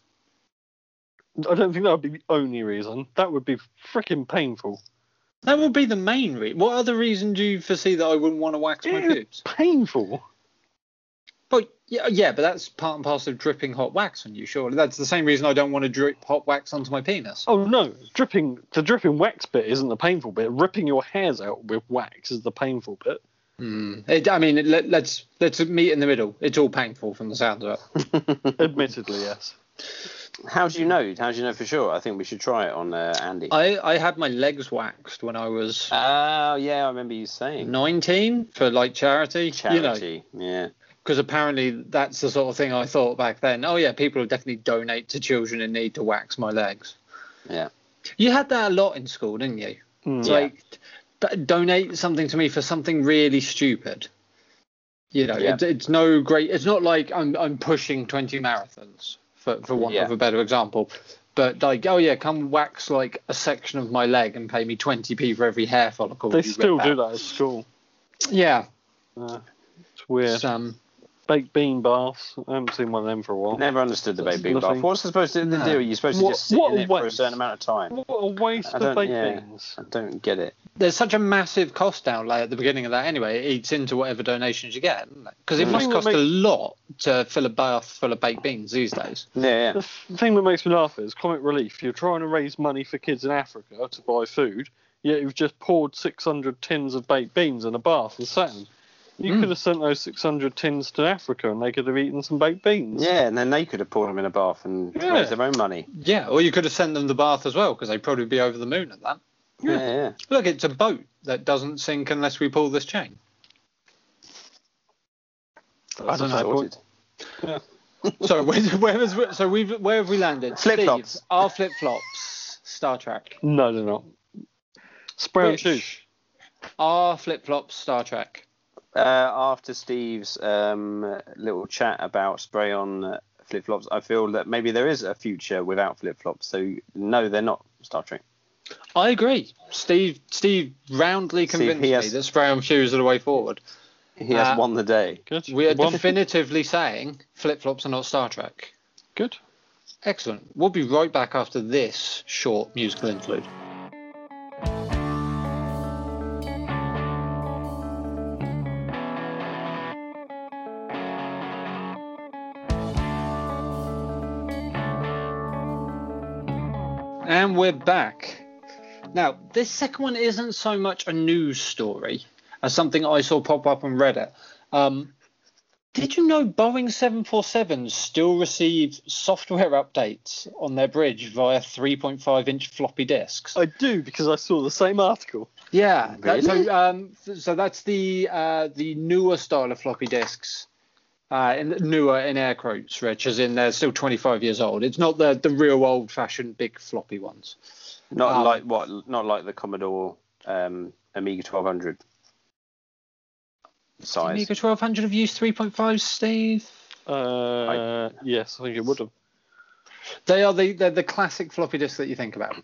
Speaker 2: I don't think that would be the only reason. That would be freaking painful.
Speaker 1: That would be the main reason. What other reason do you foresee that I wouldn't want to wax my
Speaker 2: Ew,
Speaker 1: pubes?
Speaker 2: Painful.
Speaker 1: But yeah, yeah, but that's part and parcel of dripping hot wax on you. Surely that's the same reason I don't want to drip hot wax onto my penis.
Speaker 2: Oh no, dripping the dripping wax bit isn't the painful bit. Ripping your hairs out with wax is the painful bit.
Speaker 1: It, I mean, it, let, let's let's meet in the middle. It's all painful from the sound of it.
Speaker 2: Admittedly, yes.
Speaker 3: How
Speaker 1: Hmm.
Speaker 3: do you know? How do you know for sure? I think we should try it on uh, Andy.
Speaker 1: I I had my legs waxed when I was
Speaker 3: Oh yeah, I remember you saying
Speaker 1: 19 for like charity, you know
Speaker 3: charity. yeah.
Speaker 1: because apparently that's the sort of thing i thought back then oh yeah people would definitely donate to children in need to wax my legs
Speaker 3: Yeah.
Speaker 1: you had that a lot in school didn't you
Speaker 2: Mm.
Speaker 1: it's
Speaker 3: Yeah.
Speaker 1: like d- donate something to me for something really stupid you know
Speaker 3: Yeah.
Speaker 1: it's it's no great it's not like i'm, I'm pushing 20 marathons for, for want
Speaker 3: Yeah.
Speaker 1: of a better example but like oh yeah come wax like a section of my leg and pay me 20p for every hair follicle
Speaker 2: They
Speaker 1: you rip
Speaker 2: still do
Speaker 1: out."
Speaker 2: that at school.
Speaker 1: yeah,
Speaker 2: Uh, it's weird.
Speaker 1: it's, um,
Speaker 2: Baked bean baths. I haven't seen one of them for a while.
Speaker 3: Never understood the
Speaker 2: That's
Speaker 3: baby bath.
Speaker 2: nothing.
Speaker 3: What's supposed to
Speaker 1: No.
Speaker 3: do? You're supposed to
Speaker 2: What-
Speaker 3: just sit
Speaker 2: what
Speaker 3: in
Speaker 2: a
Speaker 3: it for a
Speaker 2: waste.
Speaker 3: certain amount of time.
Speaker 2: What a waste
Speaker 3: I
Speaker 2: of
Speaker 3: don't-
Speaker 2: baked
Speaker 3: yeah.
Speaker 2: beans.
Speaker 3: I don't get it.
Speaker 1: there's such a massive cost outlay at the beginning of that anyway. It eats into whatever donations you get, because it
Speaker 2: Mm.
Speaker 1: must
Speaker 2: Thing that
Speaker 1: cost a
Speaker 2: makes-
Speaker 1: lot to fill a bath full of baked beans these days.
Speaker 3: Yeah, yeah.
Speaker 2: The f- thing that makes me laugh is Comic Relief. You're trying to raise money for kids in Africa to buy food, yet you've just poured 600 tins of baked beans in a bath and sat 'em.
Speaker 1: Hmm.
Speaker 2: You could have sent those 600 tins to Africa and they could have eaten some baked beans.
Speaker 3: Yeah, and then they could have poured them in a bath and
Speaker 2: Yeah.
Speaker 3: raised their own money.
Speaker 1: Yeah, or you could have sent them the bath as well, because they'd probably be over the moon at that.
Speaker 3: Yeah, yeah.
Speaker 1: Look, it's a boat that doesn't sink unless we pull this chain.
Speaker 3: That's
Speaker 1: don't know.
Speaker 3: sorted.
Speaker 1: So where, where, is, so we've, where have we landed? Steve,
Speaker 3: Flip-flops.
Speaker 1: Our flip flops. Star Trek.
Speaker 2: No, they're not. Sprout
Speaker 1: Which-
Speaker 2: shoes.
Speaker 1: Our flip flops. Star Trek.
Speaker 3: Uh, after Steve's um, little chat about spray on flip flops, I feel that maybe there is a future without flip flops. So no, they're not Star Trek.
Speaker 1: I agree. Steve Steve roundly
Speaker 3: Steve, he
Speaker 1: convinced
Speaker 3: has-
Speaker 1: me that spray on shoes are the way forward.
Speaker 3: He has
Speaker 1: Uh,
Speaker 3: won the day.
Speaker 2: Good.
Speaker 1: We are
Speaker 2: One.
Speaker 1: definitively saying flip flops are not Star Trek.
Speaker 2: Good.
Speaker 1: Excellent. We'll be right back after this short musical interlude. And we're back. Now, this second one isn't so much a news story as something I saw pop up on Reddit. Um, did you know Boeing 747s still receive software updates on their bridge via 3.5 inch floppy disks?
Speaker 2: I do because I saw the same article.
Speaker 1: yeah. that-
Speaker 3: Really?
Speaker 1: so, um, f- so that's the uh, the newer style of floppy disks. Uh, in, newer in air quotes, Rich, as in they're still 25 years old. It's not the, the real old fashioned big floppy ones.
Speaker 3: Not
Speaker 1: Um,
Speaker 3: like what? Not like the Commodore um, Amiga 1200
Speaker 1: The
Speaker 3: size.
Speaker 1: Amiga 1200 have used 3.5, Steve.
Speaker 2: Uh, yes, I think it would have.
Speaker 1: They are the they're the classic floppy disk that you think about.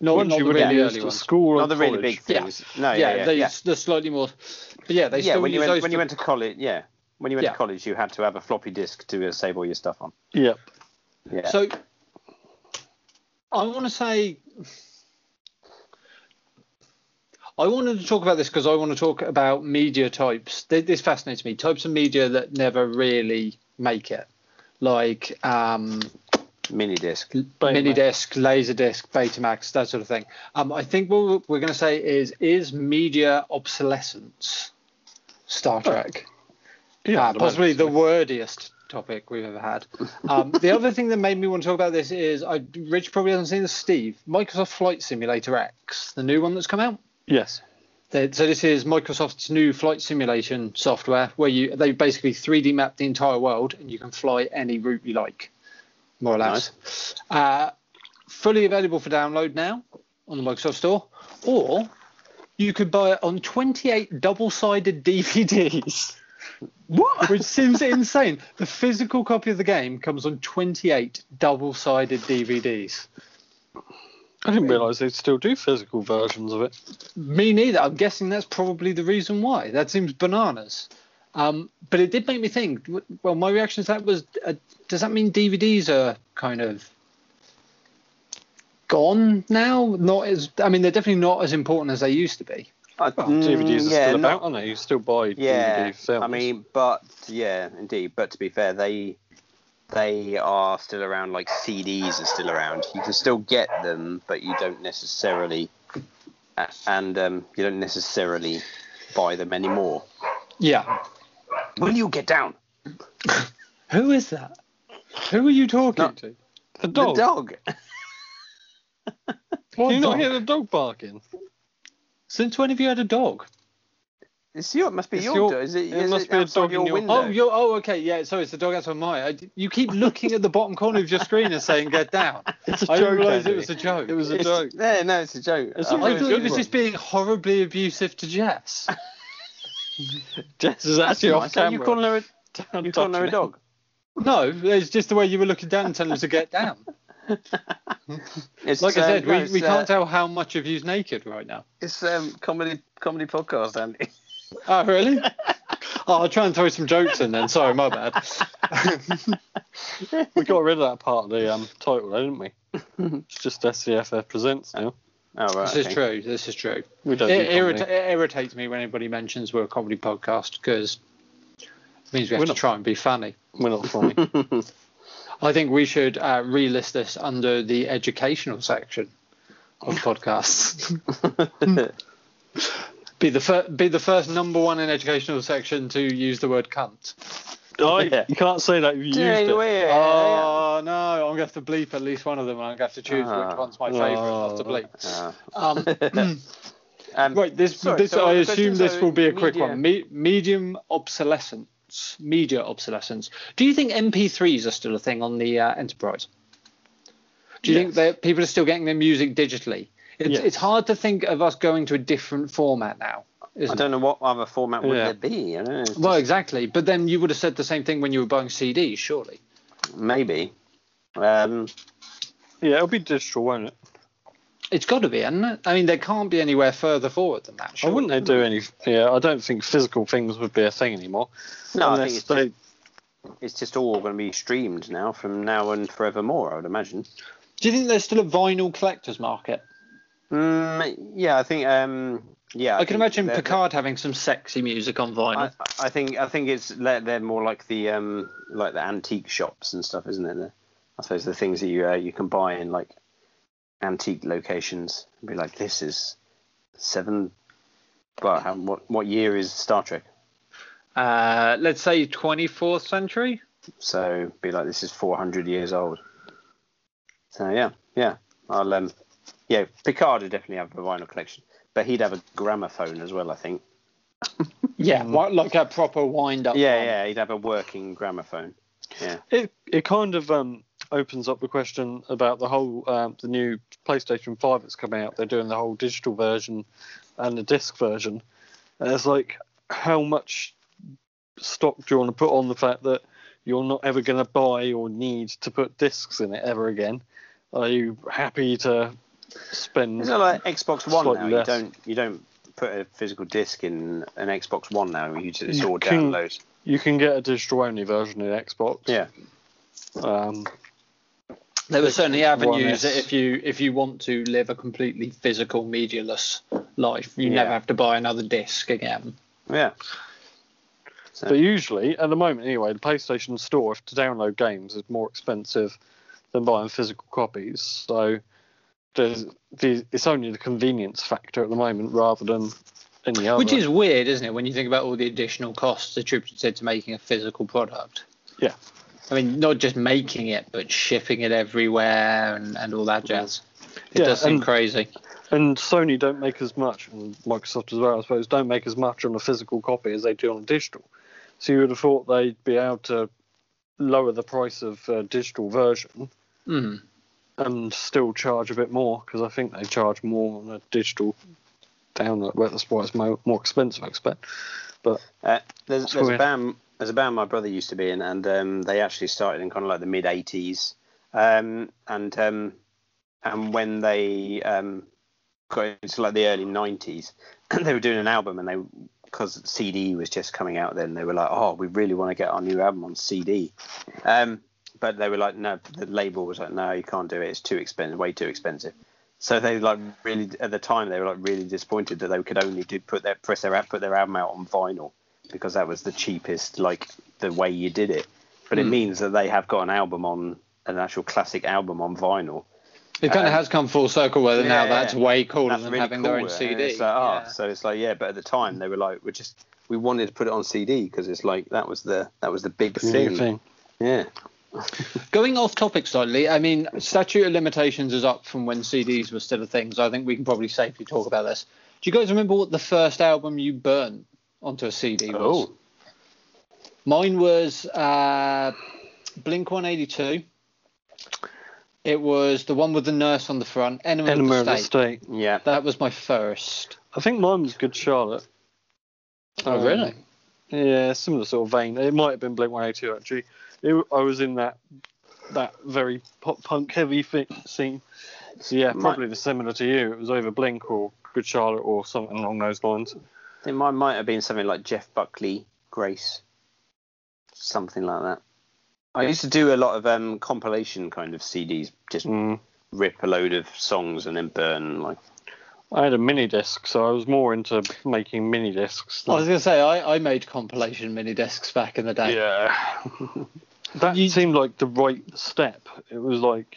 Speaker 1: Not,
Speaker 2: Ones
Speaker 1: not
Speaker 2: you
Speaker 1: the
Speaker 2: would have
Speaker 1: really
Speaker 2: used
Speaker 1: early
Speaker 2: at
Speaker 1: ones.
Speaker 2: school or
Speaker 3: Not the really
Speaker 2: college.
Speaker 3: big things. No, yeah,
Speaker 1: yeah,
Speaker 3: yeah.
Speaker 1: they,
Speaker 3: yeah.
Speaker 1: the slightly more. But yeah, they
Speaker 3: Yeah,
Speaker 1: still
Speaker 3: when you
Speaker 1: use
Speaker 3: went
Speaker 1: those.
Speaker 3: when you
Speaker 1: for-
Speaker 3: went to college, yeah, when you went
Speaker 1: Yeah.
Speaker 3: to college, you had to have a floppy disk to uh, save all your stuff on.
Speaker 2: Yep.
Speaker 3: Yeah.
Speaker 1: So I want to say I wanted to talk about this because I want to talk about media types. Th- This fascinates me. Types of media that never really make it, like um,
Speaker 3: mini disc.
Speaker 1: mini disc, laser disc, Betamax, that sort of thing. Um, I think what we're- we're going to say is is media obsolescence Star Trek.
Speaker 2: Yeah,
Speaker 1: Ah, possibly the wordiest topic we've ever had. Um, the other thing that made me want to talk about this is I Rich probably hasn't seen this. Steve, Microsoft Flight Simulator X, the new one that's come out.
Speaker 2: Yes.
Speaker 1: They- So this is Microsoft's new flight simulation software, where you they basically 3D map the entire world and you can fly any route you like, more or less. Uh, fully available for download now on the Microsoft Store, or you could buy it on 28 double-sided DVDs.
Speaker 2: What?
Speaker 1: which seems insane. The physical copy of the game comes on 28 double-sided DVDs.
Speaker 2: I didn't realise they still do physical versions of it.
Speaker 1: Me neither. I'm guessing that's probably the reason why. That seems bananas. Um, but it did make me think. w- Well, my reaction to that was, uh, does that mean DVDs are kind of gone now? Not as I mean, they're definitely not as important as they used to be.
Speaker 3: Uh, mm,
Speaker 2: DVDs are
Speaker 3: yeah,
Speaker 2: still
Speaker 3: not-
Speaker 2: about, aren't they? You still buy
Speaker 3: Yeah,
Speaker 2: DVD films.
Speaker 3: I mean, but yeah, indeed. But to be fair, they they are still around. Like CDs are still around. You can still get them, but you don't necessarily, a- and um, you don't necessarily buy them anymore.
Speaker 1: Yeah.
Speaker 3: Will you get down?
Speaker 1: Who is that? Who are you talking
Speaker 3: No.
Speaker 1: to?
Speaker 2: the dog.
Speaker 3: The dog.
Speaker 2: Can you
Speaker 1: dog?
Speaker 2: not hear the dog barking?
Speaker 1: Since when have you had a dog?
Speaker 3: It's your. It must be
Speaker 2: It's
Speaker 3: your,
Speaker 2: your-
Speaker 3: dog. Is it?
Speaker 2: it
Speaker 3: is
Speaker 2: must
Speaker 3: it
Speaker 2: be a
Speaker 3: outside
Speaker 2: dog in
Speaker 3: your
Speaker 2: your-
Speaker 3: window?
Speaker 1: Oh, you oh okay yeah. Sorry, it's the dog outside my. I, you keep looking at the bottom corner of your screen and saying "get down."
Speaker 2: It's a
Speaker 1: I
Speaker 2: joke.
Speaker 1: realised it
Speaker 2: Andy.
Speaker 1: was a joke.
Speaker 2: It was a
Speaker 3: It's-
Speaker 2: joke.
Speaker 3: No, no, it's a joke.
Speaker 2: It's
Speaker 3: Uh,
Speaker 2: a
Speaker 1: I
Speaker 2: really
Speaker 1: thought he
Speaker 2: good
Speaker 1: was
Speaker 2: one.
Speaker 1: just being horribly abusive to Jess.
Speaker 2: Jess is actually off
Speaker 3: nice. Are
Speaker 2: camera.
Speaker 3: you calling her a, you calling her a dog?
Speaker 1: No, it's just the way you were looking down and telling him to get down.
Speaker 3: It's,
Speaker 1: Like I
Speaker 3: uh,
Speaker 1: said,
Speaker 3: no,
Speaker 1: we,
Speaker 3: it's,
Speaker 1: we
Speaker 3: uh,
Speaker 1: can't tell how much of you's naked right now.
Speaker 3: It's um comedy comedy podcast, Andy.
Speaker 1: Oh really? oh, I'll try and throw some jokes in then. Sorry, my bad.
Speaker 2: We got rid of that part of the um, title, didn't we? it's just SCFF Presents now.
Speaker 3: Oh right.
Speaker 1: This is true. This is true.
Speaker 2: We don't
Speaker 1: It,
Speaker 2: do
Speaker 1: irrit-
Speaker 2: comedy.
Speaker 1: it irritates me when anybody mentions we're a comedy podcast because it means we have
Speaker 2: We're
Speaker 1: to
Speaker 2: not.
Speaker 1: try and be funny.
Speaker 2: We're not funny.
Speaker 1: I think we should uh, relist this under the educational section of podcasts. Be the fir- be the first number one in educational section to use the word cunt.
Speaker 2: Oh,
Speaker 3: Yeah.
Speaker 2: You can't say that if you used it.
Speaker 1: Oh no, I'm gonna have to bleep at least one of them. I'm gonna have to choose
Speaker 3: Ah.
Speaker 1: which one's my favourite not to bleep.
Speaker 3: Uh,
Speaker 1: Um,
Speaker 3: um,
Speaker 1: right, this
Speaker 3: Sorry,
Speaker 1: this
Speaker 3: so
Speaker 1: I
Speaker 3: the
Speaker 1: assume
Speaker 3: questions
Speaker 1: this
Speaker 3: are
Speaker 1: will be a quick
Speaker 3: media.
Speaker 1: one. Me- medium obsolescence, media obsolescence. Do you think MP3s are still a thing on the uh, Enterprise? Do you think that people are still getting their music digitally? It's,
Speaker 2: Yes.
Speaker 1: it's hard to think of us going to a different format now.
Speaker 3: I
Speaker 1: Isn't it?
Speaker 3: don't know what other format would
Speaker 2: Yeah.
Speaker 3: there be. I don't know. It's
Speaker 1: Well, exactly. But then you would have said the same thing when you were buying CDs, surely.
Speaker 3: just- maybe. Um,
Speaker 2: Yeah, it'll be digital, won't it?
Speaker 1: It's got to be, isn't it? I mean, there can't be anywhere further forward than that.
Speaker 2: Or
Speaker 1: Surely.
Speaker 2: wouldn't they do any? Yeah, I don't think physical things would be a thing anymore.
Speaker 3: no, I
Speaker 2: unless
Speaker 3: think it's
Speaker 2: they,
Speaker 3: just, it's just all going to be streamed now from now and forevermore. I would imagine.
Speaker 1: Do you think there's still a vinyl collector's market?
Speaker 3: Mm, yeah, I think. Um, yeah,
Speaker 1: I, can
Speaker 3: think
Speaker 1: imagine
Speaker 3: they're-
Speaker 1: Picard having some sexy music on vinyl.
Speaker 3: I, I think I think it's le- they're more like the um like the antique shops and stuff, isn't it? The, I suppose the things that you uh, you can buy in like antique locations. Be like, this is seven. Well, how, what what year is Star Trek?
Speaker 1: Uh, let's say 24th century.
Speaker 3: So be like, this is four hundred years old. So yeah, yeah. I'll um, yeah. Picard would definitely have a vinyl collection, but he'd have a gramophone as well. I think.
Speaker 1: Yeah, wi- like a proper wind up.
Speaker 3: Mm. Yeah,
Speaker 1: one.
Speaker 3: yeah. He'd have a working gramophone. Yeah.
Speaker 2: it it kind of um, opens up the question about the whole um, the new PlayStation Five that's coming out. They're doing the whole digital version and the disc version, and it's like how much stock do you want to put on the fact that you're not ever going to buy or need to put discs in it ever again? Are you happy to spend?
Speaker 3: It's not like Xbox One
Speaker 2: Slightly
Speaker 3: now.
Speaker 2: less.
Speaker 3: You don't you don't put a physical disc in an Xbox One now. You just it's
Speaker 2: You
Speaker 3: all
Speaker 2: can-
Speaker 3: downloads.
Speaker 2: You can get a digital only version in Xbox.
Speaker 3: Yeah.
Speaker 2: Um,
Speaker 1: There were certainly avenues
Speaker 2: One-less.
Speaker 1: that if you if you want to live a completely physical, medialess life, you
Speaker 3: Yeah.
Speaker 1: never have to buy another disc again.
Speaker 3: Yeah.
Speaker 2: but usually, at the moment anyway, the PlayStation Store if to download games is more expensive than buying physical copies. So there's, the it's only the convenience factor at the moment rather than any
Speaker 3: Oh,
Speaker 2: other.
Speaker 1: Which is weird, isn't it, when you think about all the additional costs attributed to making a physical product?
Speaker 2: Yeah.
Speaker 1: I mean, not just making it, but shipping it everywhere and, and all that jazz. It
Speaker 2: Yeah,
Speaker 1: does seem
Speaker 2: and-
Speaker 1: crazy.
Speaker 2: and Sony don't make as much, and Microsoft as well, I suppose, don't make as much on a physical copy as they do on digital. So you would have thought they'd be able to lower the price of uh, digital version
Speaker 1: Mm.
Speaker 2: and still charge a bit more because I think they charge more on a digital download. Well, that's why it's more, more expensive, I expect.
Speaker 3: Uh, there's there's a
Speaker 2: weird.
Speaker 3: band there's a band my brother used to be in, and um, they actually started in kind of like the mid '80s, um, and um, and when they um, got into like the early '90s, they were doing an album, and they because CD was just coming out then, they were like, oh, we really want to get our new album on CD, um, but they were like, no, the label was like, no, you can't do it, it's too expensive, way too expensive. So they like really at the time they were like really disappointed that they could only do put their press their put their album out on vinyl because that was the cheapest like the way you did it. But
Speaker 1: Hmm.
Speaker 3: it means that they have got an album on an actual classic album on vinyl.
Speaker 1: It kind
Speaker 3: Um,
Speaker 1: of has come full circle, whether now
Speaker 3: yeah,
Speaker 1: that's
Speaker 3: yeah.
Speaker 1: way cooler
Speaker 3: That's
Speaker 1: than
Speaker 3: really
Speaker 1: having
Speaker 3: cool.
Speaker 1: their own
Speaker 3: And
Speaker 1: CD.
Speaker 3: It's like, ah,
Speaker 1: Yeah.
Speaker 3: so it's like yeah, but at the time they were like we just we wanted to put it on CD because it's like that was the that was the big thing.
Speaker 2: Thing.
Speaker 3: Yeah.
Speaker 1: Going off topic slightly, I mean, statute of limitations is up from when CDs were still a thing, so I think we can probably safely talk about this. Do you guys remember what the first album you burnt onto a CD was?
Speaker 3: Oh.
Speaker 1: Mine was uh, Blink 182. It was the one with the nurse on the front, Enema,
Speaker 2: Enema
Speaker 1: of
Speaker 2: of
Speaker 1: the
Speaker 2: the
Speaker 1: State.
Speaker 2: State.
Speaker 3: Yeah.
Speaker 1: That was my first.
Speaker 2: I think mine was Good Charlotte.
Speaker 1: Oh,
Speaker 2: Um,
Speaker 1: really?
Speaker 2: Yeah, similar sort of vein. It might have been Blink 182 actually. It, I was in that that very pop punk heavy fi- scene. So yeah,
Speaker 3: Might-
Speaker 2: probably the similar to you. It was over Blink or Good Charlotte or something along those lines.
Speaker 3: I think mine might have been something like Jeff Buckley, Grace, something like that. I used to do a lot of um, compilation kind of CDs, just
Speaker 2: Mm.
Speaker 3: rip a load of songs and then burn. Like,
Speaker 2: I had a mini disc, so I was more into making mini discs.
Speaker 1: I was going to say, I, I made compilation mini discs back in the day.
Speaker 2: Yeah. that
Speaker 1: You-
Speaker 2: seemed like the right step. It was like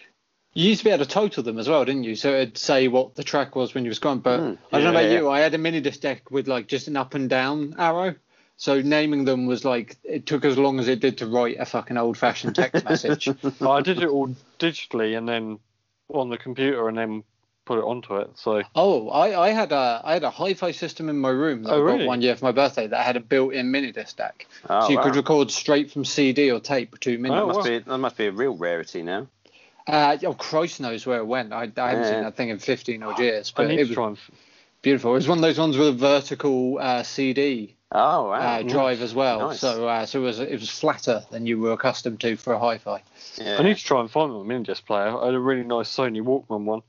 Speaker 1: You used to be able to total them as well, didn't you? So it'd say what the track was when you was going. But
Speaker 3: Mm.
Speaker 1: I don't know
Speaker 3: Yeah,
Speaker 1: about
Speaker 3: yeah.
Speaker 1: you. I had a mini disc deck with like just an up and down arrow. So naming them was like it took as long as it did to write a fucking old fashioned text message.
Speaker 2: I did it all digitally and then on the computer and then put it onto it. So
Speaker 1: Oh, I, I had a I had a hi-fi system in my room that
Speaker 2: Oh,
Speaker 1: I got
Speaker 2: really?
Speaker 1: one year for my birthday that had a built-in mini disc deck,
Speaker 3: Oh,
Speaker 1: so you could
Speaker 3: wow.
Speaker 1: record straight from CD or tape to mini.
Speaker 2: Oh,
Speaker 3: That
Speaker 2: wow.
Speaker 3: must, be, that must be a real rarity now.
Speaker 1: Uh, oh, Christ knows where it went. I, I haven't seen
Speaker 3: Yeah.
Speaker 1: that thing in 15 odd years,
Speaker 2: I
Speaker 1: but
Speaker 2: need
Speaker 1: it
Speaker 2: to
Speaker 1: was
Speaker 2: try and
Speaker 1: beautiful. It was one of those ones with a vertical uh, CD
Speaker 3: Oh, wow.
Speaker 1: uh, drive as well,
Speaker 3: Nice.
Speaker 1: so uh, so it was it was flatter than you were accustomed to for a hi-fi.
Speaker 3: Yeah.
Speaker 2: I need to try and find my mini disc player. I had a really nice Sony Walkman one.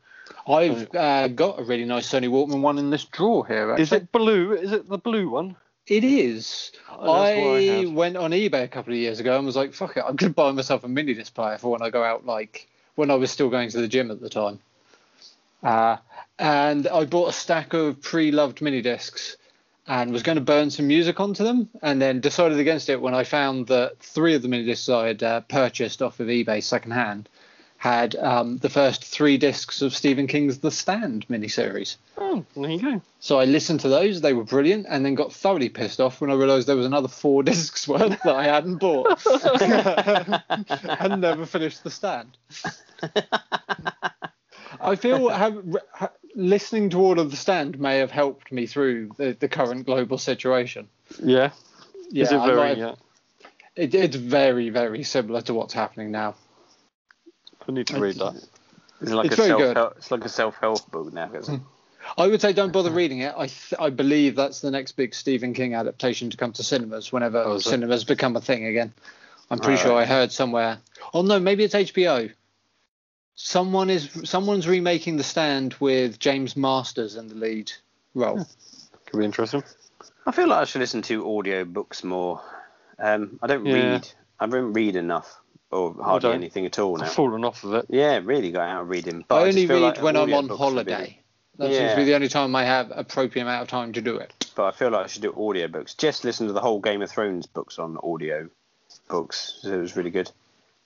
Speaker 1: I've uh, got a really nice Sony Walkman one in this drawer here. Actually.
Speaker 2: Is it blue? Is it the blue one?
Speaker 1: It is.
Speaker 2: Oh, that's what I
Speaker 1: I,
Speaker 2: had.
Speaker 1: went on eBay a couple of years ago and was like, "Fuck it, I'm gonna buy myself a mini disc player for when I go out." Like when I was still going to the gym at the time. Uh, and I bought a stack of pre-loved mini discs and was going to burn some music onto them, and then decided against it when I found that three of the mini discs I had uh, purchased off of eBay secondhand had um, the first three discs of Stephen King's The Stand miniseries.
Speaker 2: Oh, there you go.
Speaker 1: So I listened to those; they were brilliant, and then got thoroughly pissed off when I realised there was another four discs worth that I hadn't bought and never finished the stand. I feel ha- ha- listening to all of the stand may have helped me through the, the current global situation.
Speaker 2: Yeah.
Speaker 1: Yeah,
Speaker 2: Is it
Speaker 1: I
Speaker 2: very?
Speaker 1: might have-
Speaker 2: yeah.
Speaker 1: it- it's very, very similar to what's happening now.
Speaker 2: I need to read that.
Speaker 3: It's like
Speaker 1: It's
Speaker 3: a
Speaker 1: very good. Mm.
Speaker 3: self-help. It's like a self-help book now. Isn't it?
Speaker 1: I would say don't bother reading it. I th- I believe that's the next big Stephen King adaptation to come to cinemas whenever
Speaker 2: Oh, is it?
Speaker 1: cinemas become a thing again. I'm pretty
Speaker 3: Right.
Speaker 1: sure I heard somewhere. Oh no, maybe it's HBO. Someone is someone's remaking The Stand with James Masters in the lead role.
Speaker 2: Could be interesting.
Speaker 3: I feel like I should listen to audio books more. Um, I don't
Speaker 2: Yeah.
Speaker 3: read. I don't read enough, or hardly
Speaker 2: don't.
Speaker 3: anything at all now.
Speaker 2: I've fallen off of it.
Speaker 3: Yeah, really got out of reading. But
Speaker 1: I
Speaker 3: just
Speaker 1: only
Speaker 3: feel
Speaker 1: read
Speaker 3: like
Speaker 1: when I'm on
Speaker 3: audiobooks would be-
Speaker 1: holiday. That seems to be
Speaker 3: Yeah.
Speaker 1: the only time I have appropriate amount of time to do it.
Speaker 3: but I feel like I should do audiobooks. Just listen to the whole Game of Thrones books on audio books. So it was really good.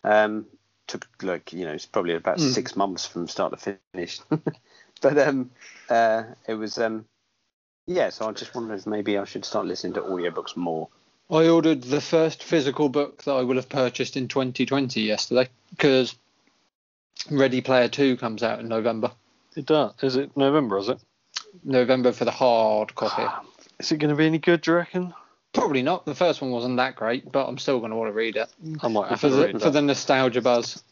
Speaker 3: Um, took like you know it's probably about
Speaker 2: Hmm.
Speaker 1: Mm.
Speaker 3: six months from start to finish, but um, uh, it was um, yeah. So I just wondered if maybe I should start listening to audiobooks more.
Speaker 1: I ordered the first physical book that I will have purchased in 2020 yesterday because Ready Player 2 comes out in November.
Speaker 2: It does. Is it November? Is it?
Speaker 1: November for the hard copy.
Speaker 2: Is it going to be any good? Do you reckon?
Speaker 1: Probably not. The first one wasn't that great, but I'm still going to want to read it
Speaker 2: I might have
Speaker 1: for
Speaker 2: to
Speaker 1: the,
Speaker 2: read
Speaker 1: for
Speaker 2: that.
Speaker 1: the nostalgia buzz.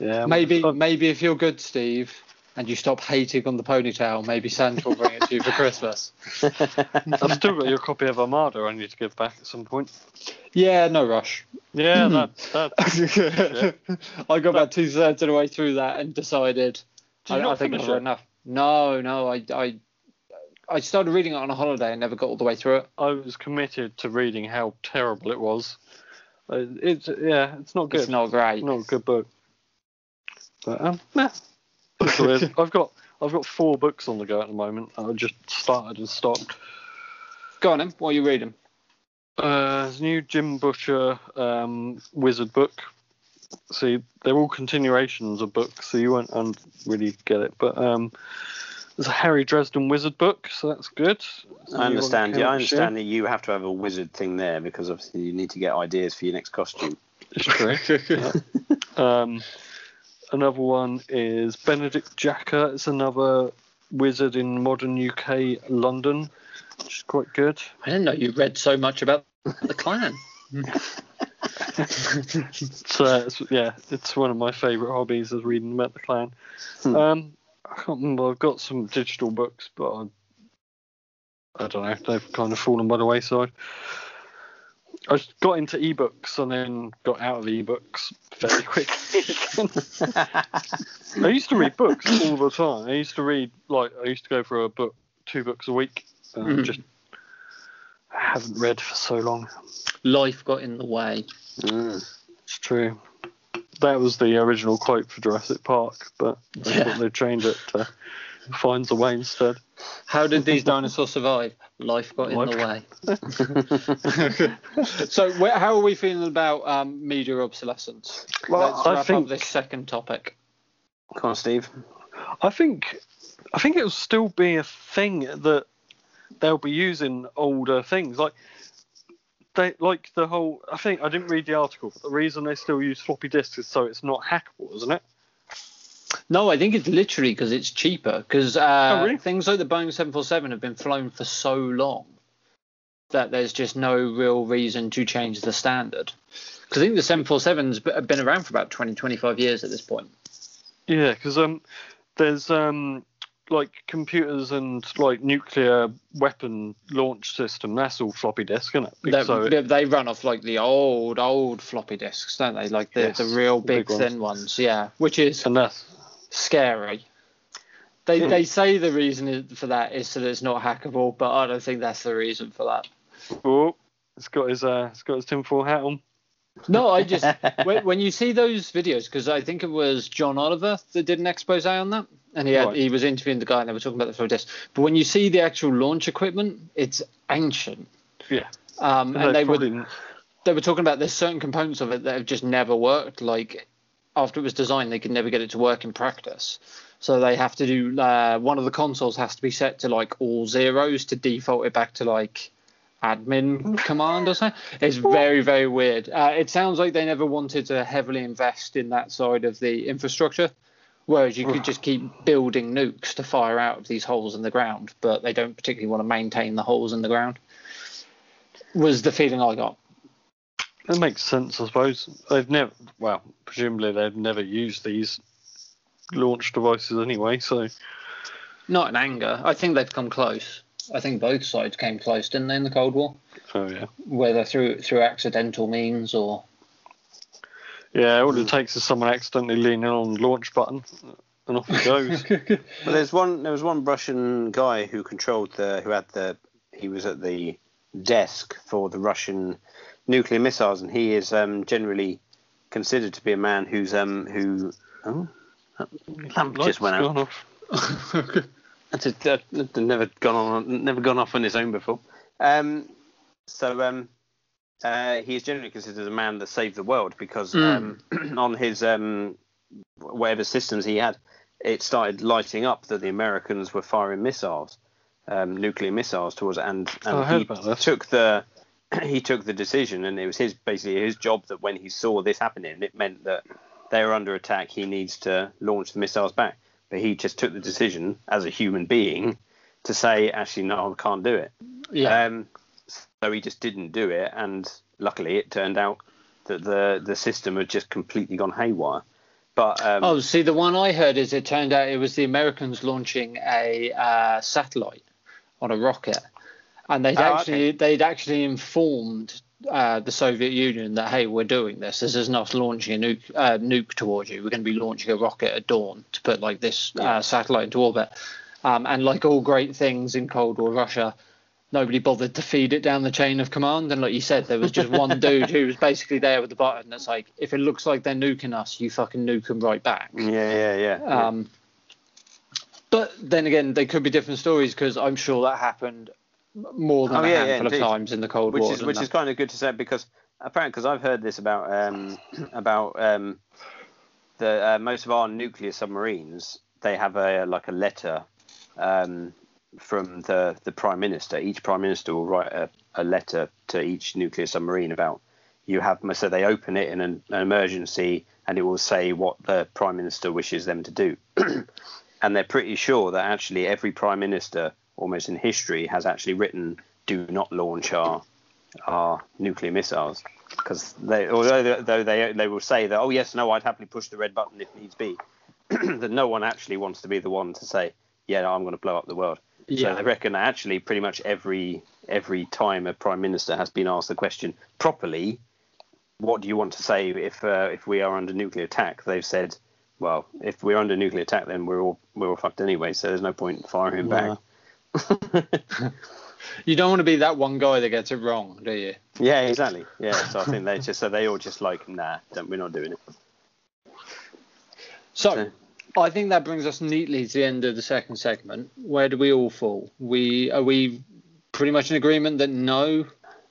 Speaker 2: yeah.
Speaker 1: Maybe
Speaker 2: I'm-
Speaker 1: maybe if you're good, Steve, and you stop hating on the ponytail, maybe Santa will bring it to you for Christmas.
Speaker 2: I've still got your copy of Armada. I need to give back at some point.
Speaker 1: Yeah, no rush.
Speaker 2: Yeah. That. that.
Speaker 1: I got about two thirds of the way through that and decided
Speaker 2: Do you
Speaker 1: I,
Speaker 2: not
Speaker 1: I think I've
Speaker 2: finish
Speaker 1: read
Speaker 2: it?
Speaker 1: enough. No, no, I, I I started reading it on a holiday and never got all the way through it.
Speaker 2: I was committed to reading how terrible it was. Uh, It's yeah. It's not good.
Speaker 1: It's not great.
Speaker 2: not a good book. But um, nah. It's all right. I've got I've got four books on the go at the moment. I just started and stopped.
Speaker 1: Go on, then. What are you reading?
Speaker 2: Uh, there's a new Jim Butcher um, Wizard book. See, they're all continuations of books, so you won't um, really get it. But um, there's a Harry Dresden Wizard book, so that's good. So you
Speaker 3: I
Speaker 2: won't
Speaker 3: understand. Yeah, I
Speaker 2: count shit.
Speaker 3: understand that you have to have a wizard thing there because obviously you need to get ideas for your next costume.
Speaker 2: It's true. Um, another one is Benedict Jacker. It's another wizard in modern UK London, which is quite good.
Speaker 1: I didn't know you read so much about the clan.
Speaker 2: So it's, yeah, it's one of my favourite hobbies is reading about the clan.
Speaker 3: Hmm.
Speaker 2: Um, I can't remember. I've got some digital books, but I, I don't know. They've kind of fallen by the wayside. I just got into ebooks and then got out of ebooks very quickly. I used to read books all the time. I used to read like I used to go for a book, two books a week. And I
Speaker 1: Mhm.
Speaker 2: just haven't read for so long.
Speaker 1: Life got in the way.
Speaker 2: Hmm.
Speaker 3: Mm.
Speaker 2: It's true. That was the original quote for Jurassic Park, but I
Speaker 1: Yeah.
Speaker 2: thought they changed it to "Finds a Way" instead.
Speaker 1: How did these dinosaurs survive? Life got in the way. so, wh- how are we feeling about um, media obsolescence?
Speaker 2: Well,
Speaker 1: Let's
Speaker 2: I
Speaker 1: wrap up
Speaker 2: think-
Speaker 1: this second topic.
Speaker 3: Come on, Steve.
Speaker 2: I think I think it'll still be a thing that they'll be using older things like they like the whole. I think I didn't read the article, but the reason they still use floppy disks is so it's not hackable, isn't it?
Speaker 1: No, I think it's literally because it's cheaper. Because uh,
Speaker 2: Oh, really?
Speaker 1: things like the Boeing 747 have been flown for so long that there's just no real reason to change the standard. Because I think the 747's b- been around for about 20, 25 years at this point.
Speaker 2: Yeah, because um, there's um, like computers and like nuclear weapon launch system. That's all floppy disk, isn't
Speaker 1: They,
Speaker 2: it? So
Speaker 1: they- they run off like the old, old floppy disks, don't they? Like the,
Speaker 2: Yes,
Speaker 1: the real
Speaker 2: the
Speaker 1: big,
Speaker 2: big ones.
Speaker 1: thin ones. Yeah, which is
Speaker 2: and that's
Speaker 1: scary. They,
Speaker 2: Hmm.
Speaker 3: Yeah.
Speaker 1: they say the reason is- for that is so that it's not hackable, but I don't think that's the reason for that.
Speaker 2: oh, it's got his uh, it's got his tinfoil hat on.
Speaker 1: No, I just when, when you see those videos because I think it was John Oliver that did an expose on that, and he had,
Speaker 2: Right.
Speaker 1: he was interviewing the guy and they were talking about the flow disk. But when you see the actual launch equipment, it's ancient.
Speaker 2: Yeah,
Speaker 1: Um, and they were
Speaker 2: probably
Speaker 1: they were talking about there's certain components of it that have just never worked. Like after it was designed, they could never get it to work in practice. So they have to do uh, one of the consoles has to be set to like all zeros to default it back to like admin command or something. It's very very weird. Uh, it sounds like they never wanted to heavily invest in that side of the infrastructure. Whereas you could just keep building nukes to fire out of these holes in the ground, but they don't particularly want to maintain the holes in the ground. Was the feeling I got.
Speaker 2: That makes sense, I suppose. They've never, well, presumably they've never used these launch devices anyway. So
Speaker 1: Not in anger. I think they've come close. I think both sides came close, didn't they, in the Cold War?
Speaker 2: so yeah,
Speaker 1: Whether through through accidental means or
Speaker 2: yeah. All
Speaker 1: Hmm.
Speaker 2: it takes is someone accidentally leaning on the launch button, and off it goes.
Speaker 3: But there's one. There was one Russian guy who controlled the. Who had the. He was at the desk for the Russian nuclear missiles, and he is um, generally considered to be a man who's um who. Oh, that lamp
Speaker 2: Lights
Speaker 3: just went out.
Speaker 2: gone off.
Speaker 3: That's a- that- that's never gone on. Never gone off on his own before. Um, so um, uh, he is generally considered a man that saved the world because
Speaker 2: Hmm.
Speaker 1: Mm.
Speaker 3: um, on his um, whatever systems he had, it started lighting up that the Americans were firing missiles, um, nuclear missiles towards, and, and
Speaker 2: Oh, I heard
Speaker 3: he
Speaker 2: about this.
Speaker 3: took the he took the decision, and it was his basically his job that when he saw this happening, it meant that they were under attack. He needs to launch the missiles back, but he just took the decision as a human being to say, actually, no, I can't do it.
Speaker 1: yeah,
Speaker 3: Um, so he just didn't do it, and luckily it turned out that the the system had just completely gone haywire. But um,
Speaker 1: oh, see, the one I heard is it turned out it was the Americans launching a uh, satellite on a rocket, and they'd
Speaker 3: Oh,
Speaker 1: actually they'd actually informed uh, the Soviet Union that hey, we're doing this. This is not launching a nuke uh, nuke towards you. We're going to be launching a rocket at dawn to put like this uh, satellite into orbit. Um, and like all great things in Cold War Russia, nobody bothered to feed it down the chain of command. And like you said, there was just one dude who was basically there with the button that's like, if it looks like they're nuking us, you fucking nuke them right back.
Speaker 3: yeah, yeah, Mm, yeah.
Speaker 1: Um, but then again, they could be different stories because I'm sure that happened m- more than
Speaker 3: Oh,
Speaker 1: a
Speaker 3: yeah, yeah,
Speaker 1: handful of
Speaker 3: indeed.
Speaker 1: times in the Cold
Speaker 3: which
Speaker 1: War.
Speaker 3: is
Speaker 1: didn't
Speaker 3: which
Speaker 1: they?
Speaker 3: is kind of good to say because apparently because I've heard this about um, about um, the uh, most of our nuclear submarines they have a like a letter um, from the the prime minister. Each prime minister will write a, a letter to each nuclear submarine about you have so they open it in an, an emergency and it will say what the prime minister wishes them to do. and they're pretty sure that actually every prime minister almost in history has actually written do not launch our our nuclear missiles because they although they, though they they will say that oh yes no I'd happily push the red button if needs be that no one actually wants to be the one to say yeah no, I'm going to blow up the world
Speaker 1: Yeah.
Speaker 3: so I reckon that actually pretty much every every time a prime minister has been asked the question properly what do you want to say if uh, if we are under nuclear attack? They've said, well, if we're under nuclear attack, then we're all we're all fucked anyway. So there's no point firing back.
Speaker 1: You don't want to be that one guy that gets it wrong, do you?
Speaker 3: Yeah, exactly. Yeah. So I think they just so they all just like, nah, don't, we're not doing it.
Speaker 1: So, I think that brings us neatly to the end of the second segment. Where do we all fall? We are we pretty much in agreement that no,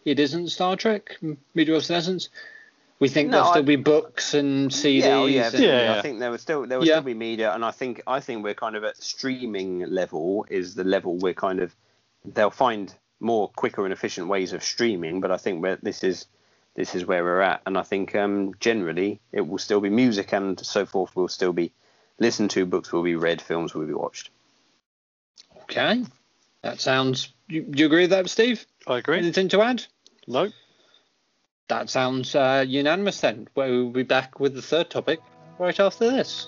Speaker 1: it isn't Star Trek, Meteor of Senescence. We think
Speaker 3: No,
Speaker 1: there'll
Speaker 3: I-
Speaker 1: still be books and CDs.
Speaker 3: yeah, oh, yeah,
Speaker 1: and-
Speaker 3: definitely.
Speaker 2: Yeah, yeah.
Speaker 3: I think there would still there would
Speaker 1: Yeah.
Speaker 3: still be media, and I think I think we're kind of at streaming level is the level we're kind of they'll find more quicker and efficient ways of streaming, but I think where this is this is where we're at, and I think um, generally it will still be music and so forth will still be listened to, books will be read, films will be watched.
Speaker 1: Okay. That sounds. You, do you agree with that, Steve?
Speaker 2: I agree.
Speaker 1: Anything to add?
Speaker 2: No.
Speaker 1: That sounds uh, unanimous then. Well, We'll be back with the third topic right after this.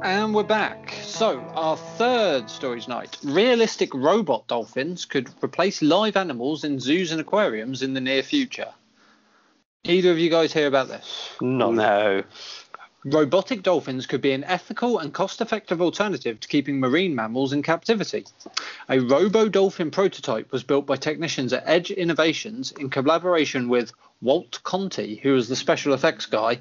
Speaker 1: And we're back. So, our third story tonight realistic robot dolphins could replace live animals in zoos and aquariums in the near future. Either of you guys hear about this?
Speaker 2: No.
Speaker 3: no.
Speaker 1: Robotic dolphins could be an ethical and cost effective alternative to keeping marine mammals in captivity. A robo dolphin prototype was built by technicians at Edge Innovations in collaboration with Walt Conti, who is the special effects guy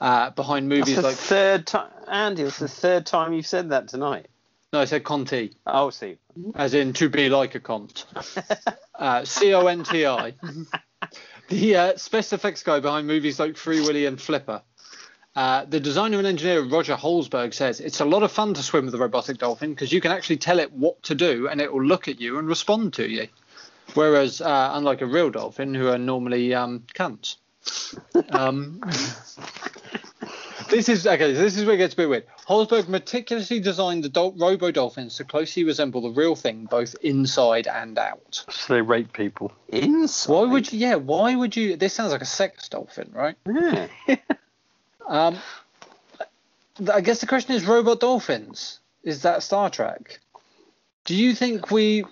Speaker 1: uh, behind
Speaker 3: That's
Speaker 1: movies
Speaker 3: the
Speaker 1: like.
Speaker 3: third time, Andy. It's the third time you've said that tonight.
Speaker 1: No, I said Conti,
Speaker 3: Oh, see,
Speaker 1: as in to be like a cont. Uh, C O N T I. the uh, special effects guy behind movies like Free Willy and Flipper. Uh, the designer and engineer Roger Holzberg says it's a lot of fun to swim with a robotic dolphin because you can actually tell it what to do and it will look at you and respond to you. Whereas, uh, unlike a real dolphin, who are normally um, cunts. Um, this is okay. This is where it gets a bit weird. Holzberg meticulously designed the dol- robo dolphins to closely resemble the real thing, both inside and out.
Speaker 2: So they rape people.
Speaker 3: inside.
Speaker 1: Why would you? Yeah, why would you? This sounds like a sex dolphin, right?
Speaker 3: Yeah.
Speaker 1: Um, th- I guess the question is, robot dolphins. Is that Star Trek? Do you think we? Do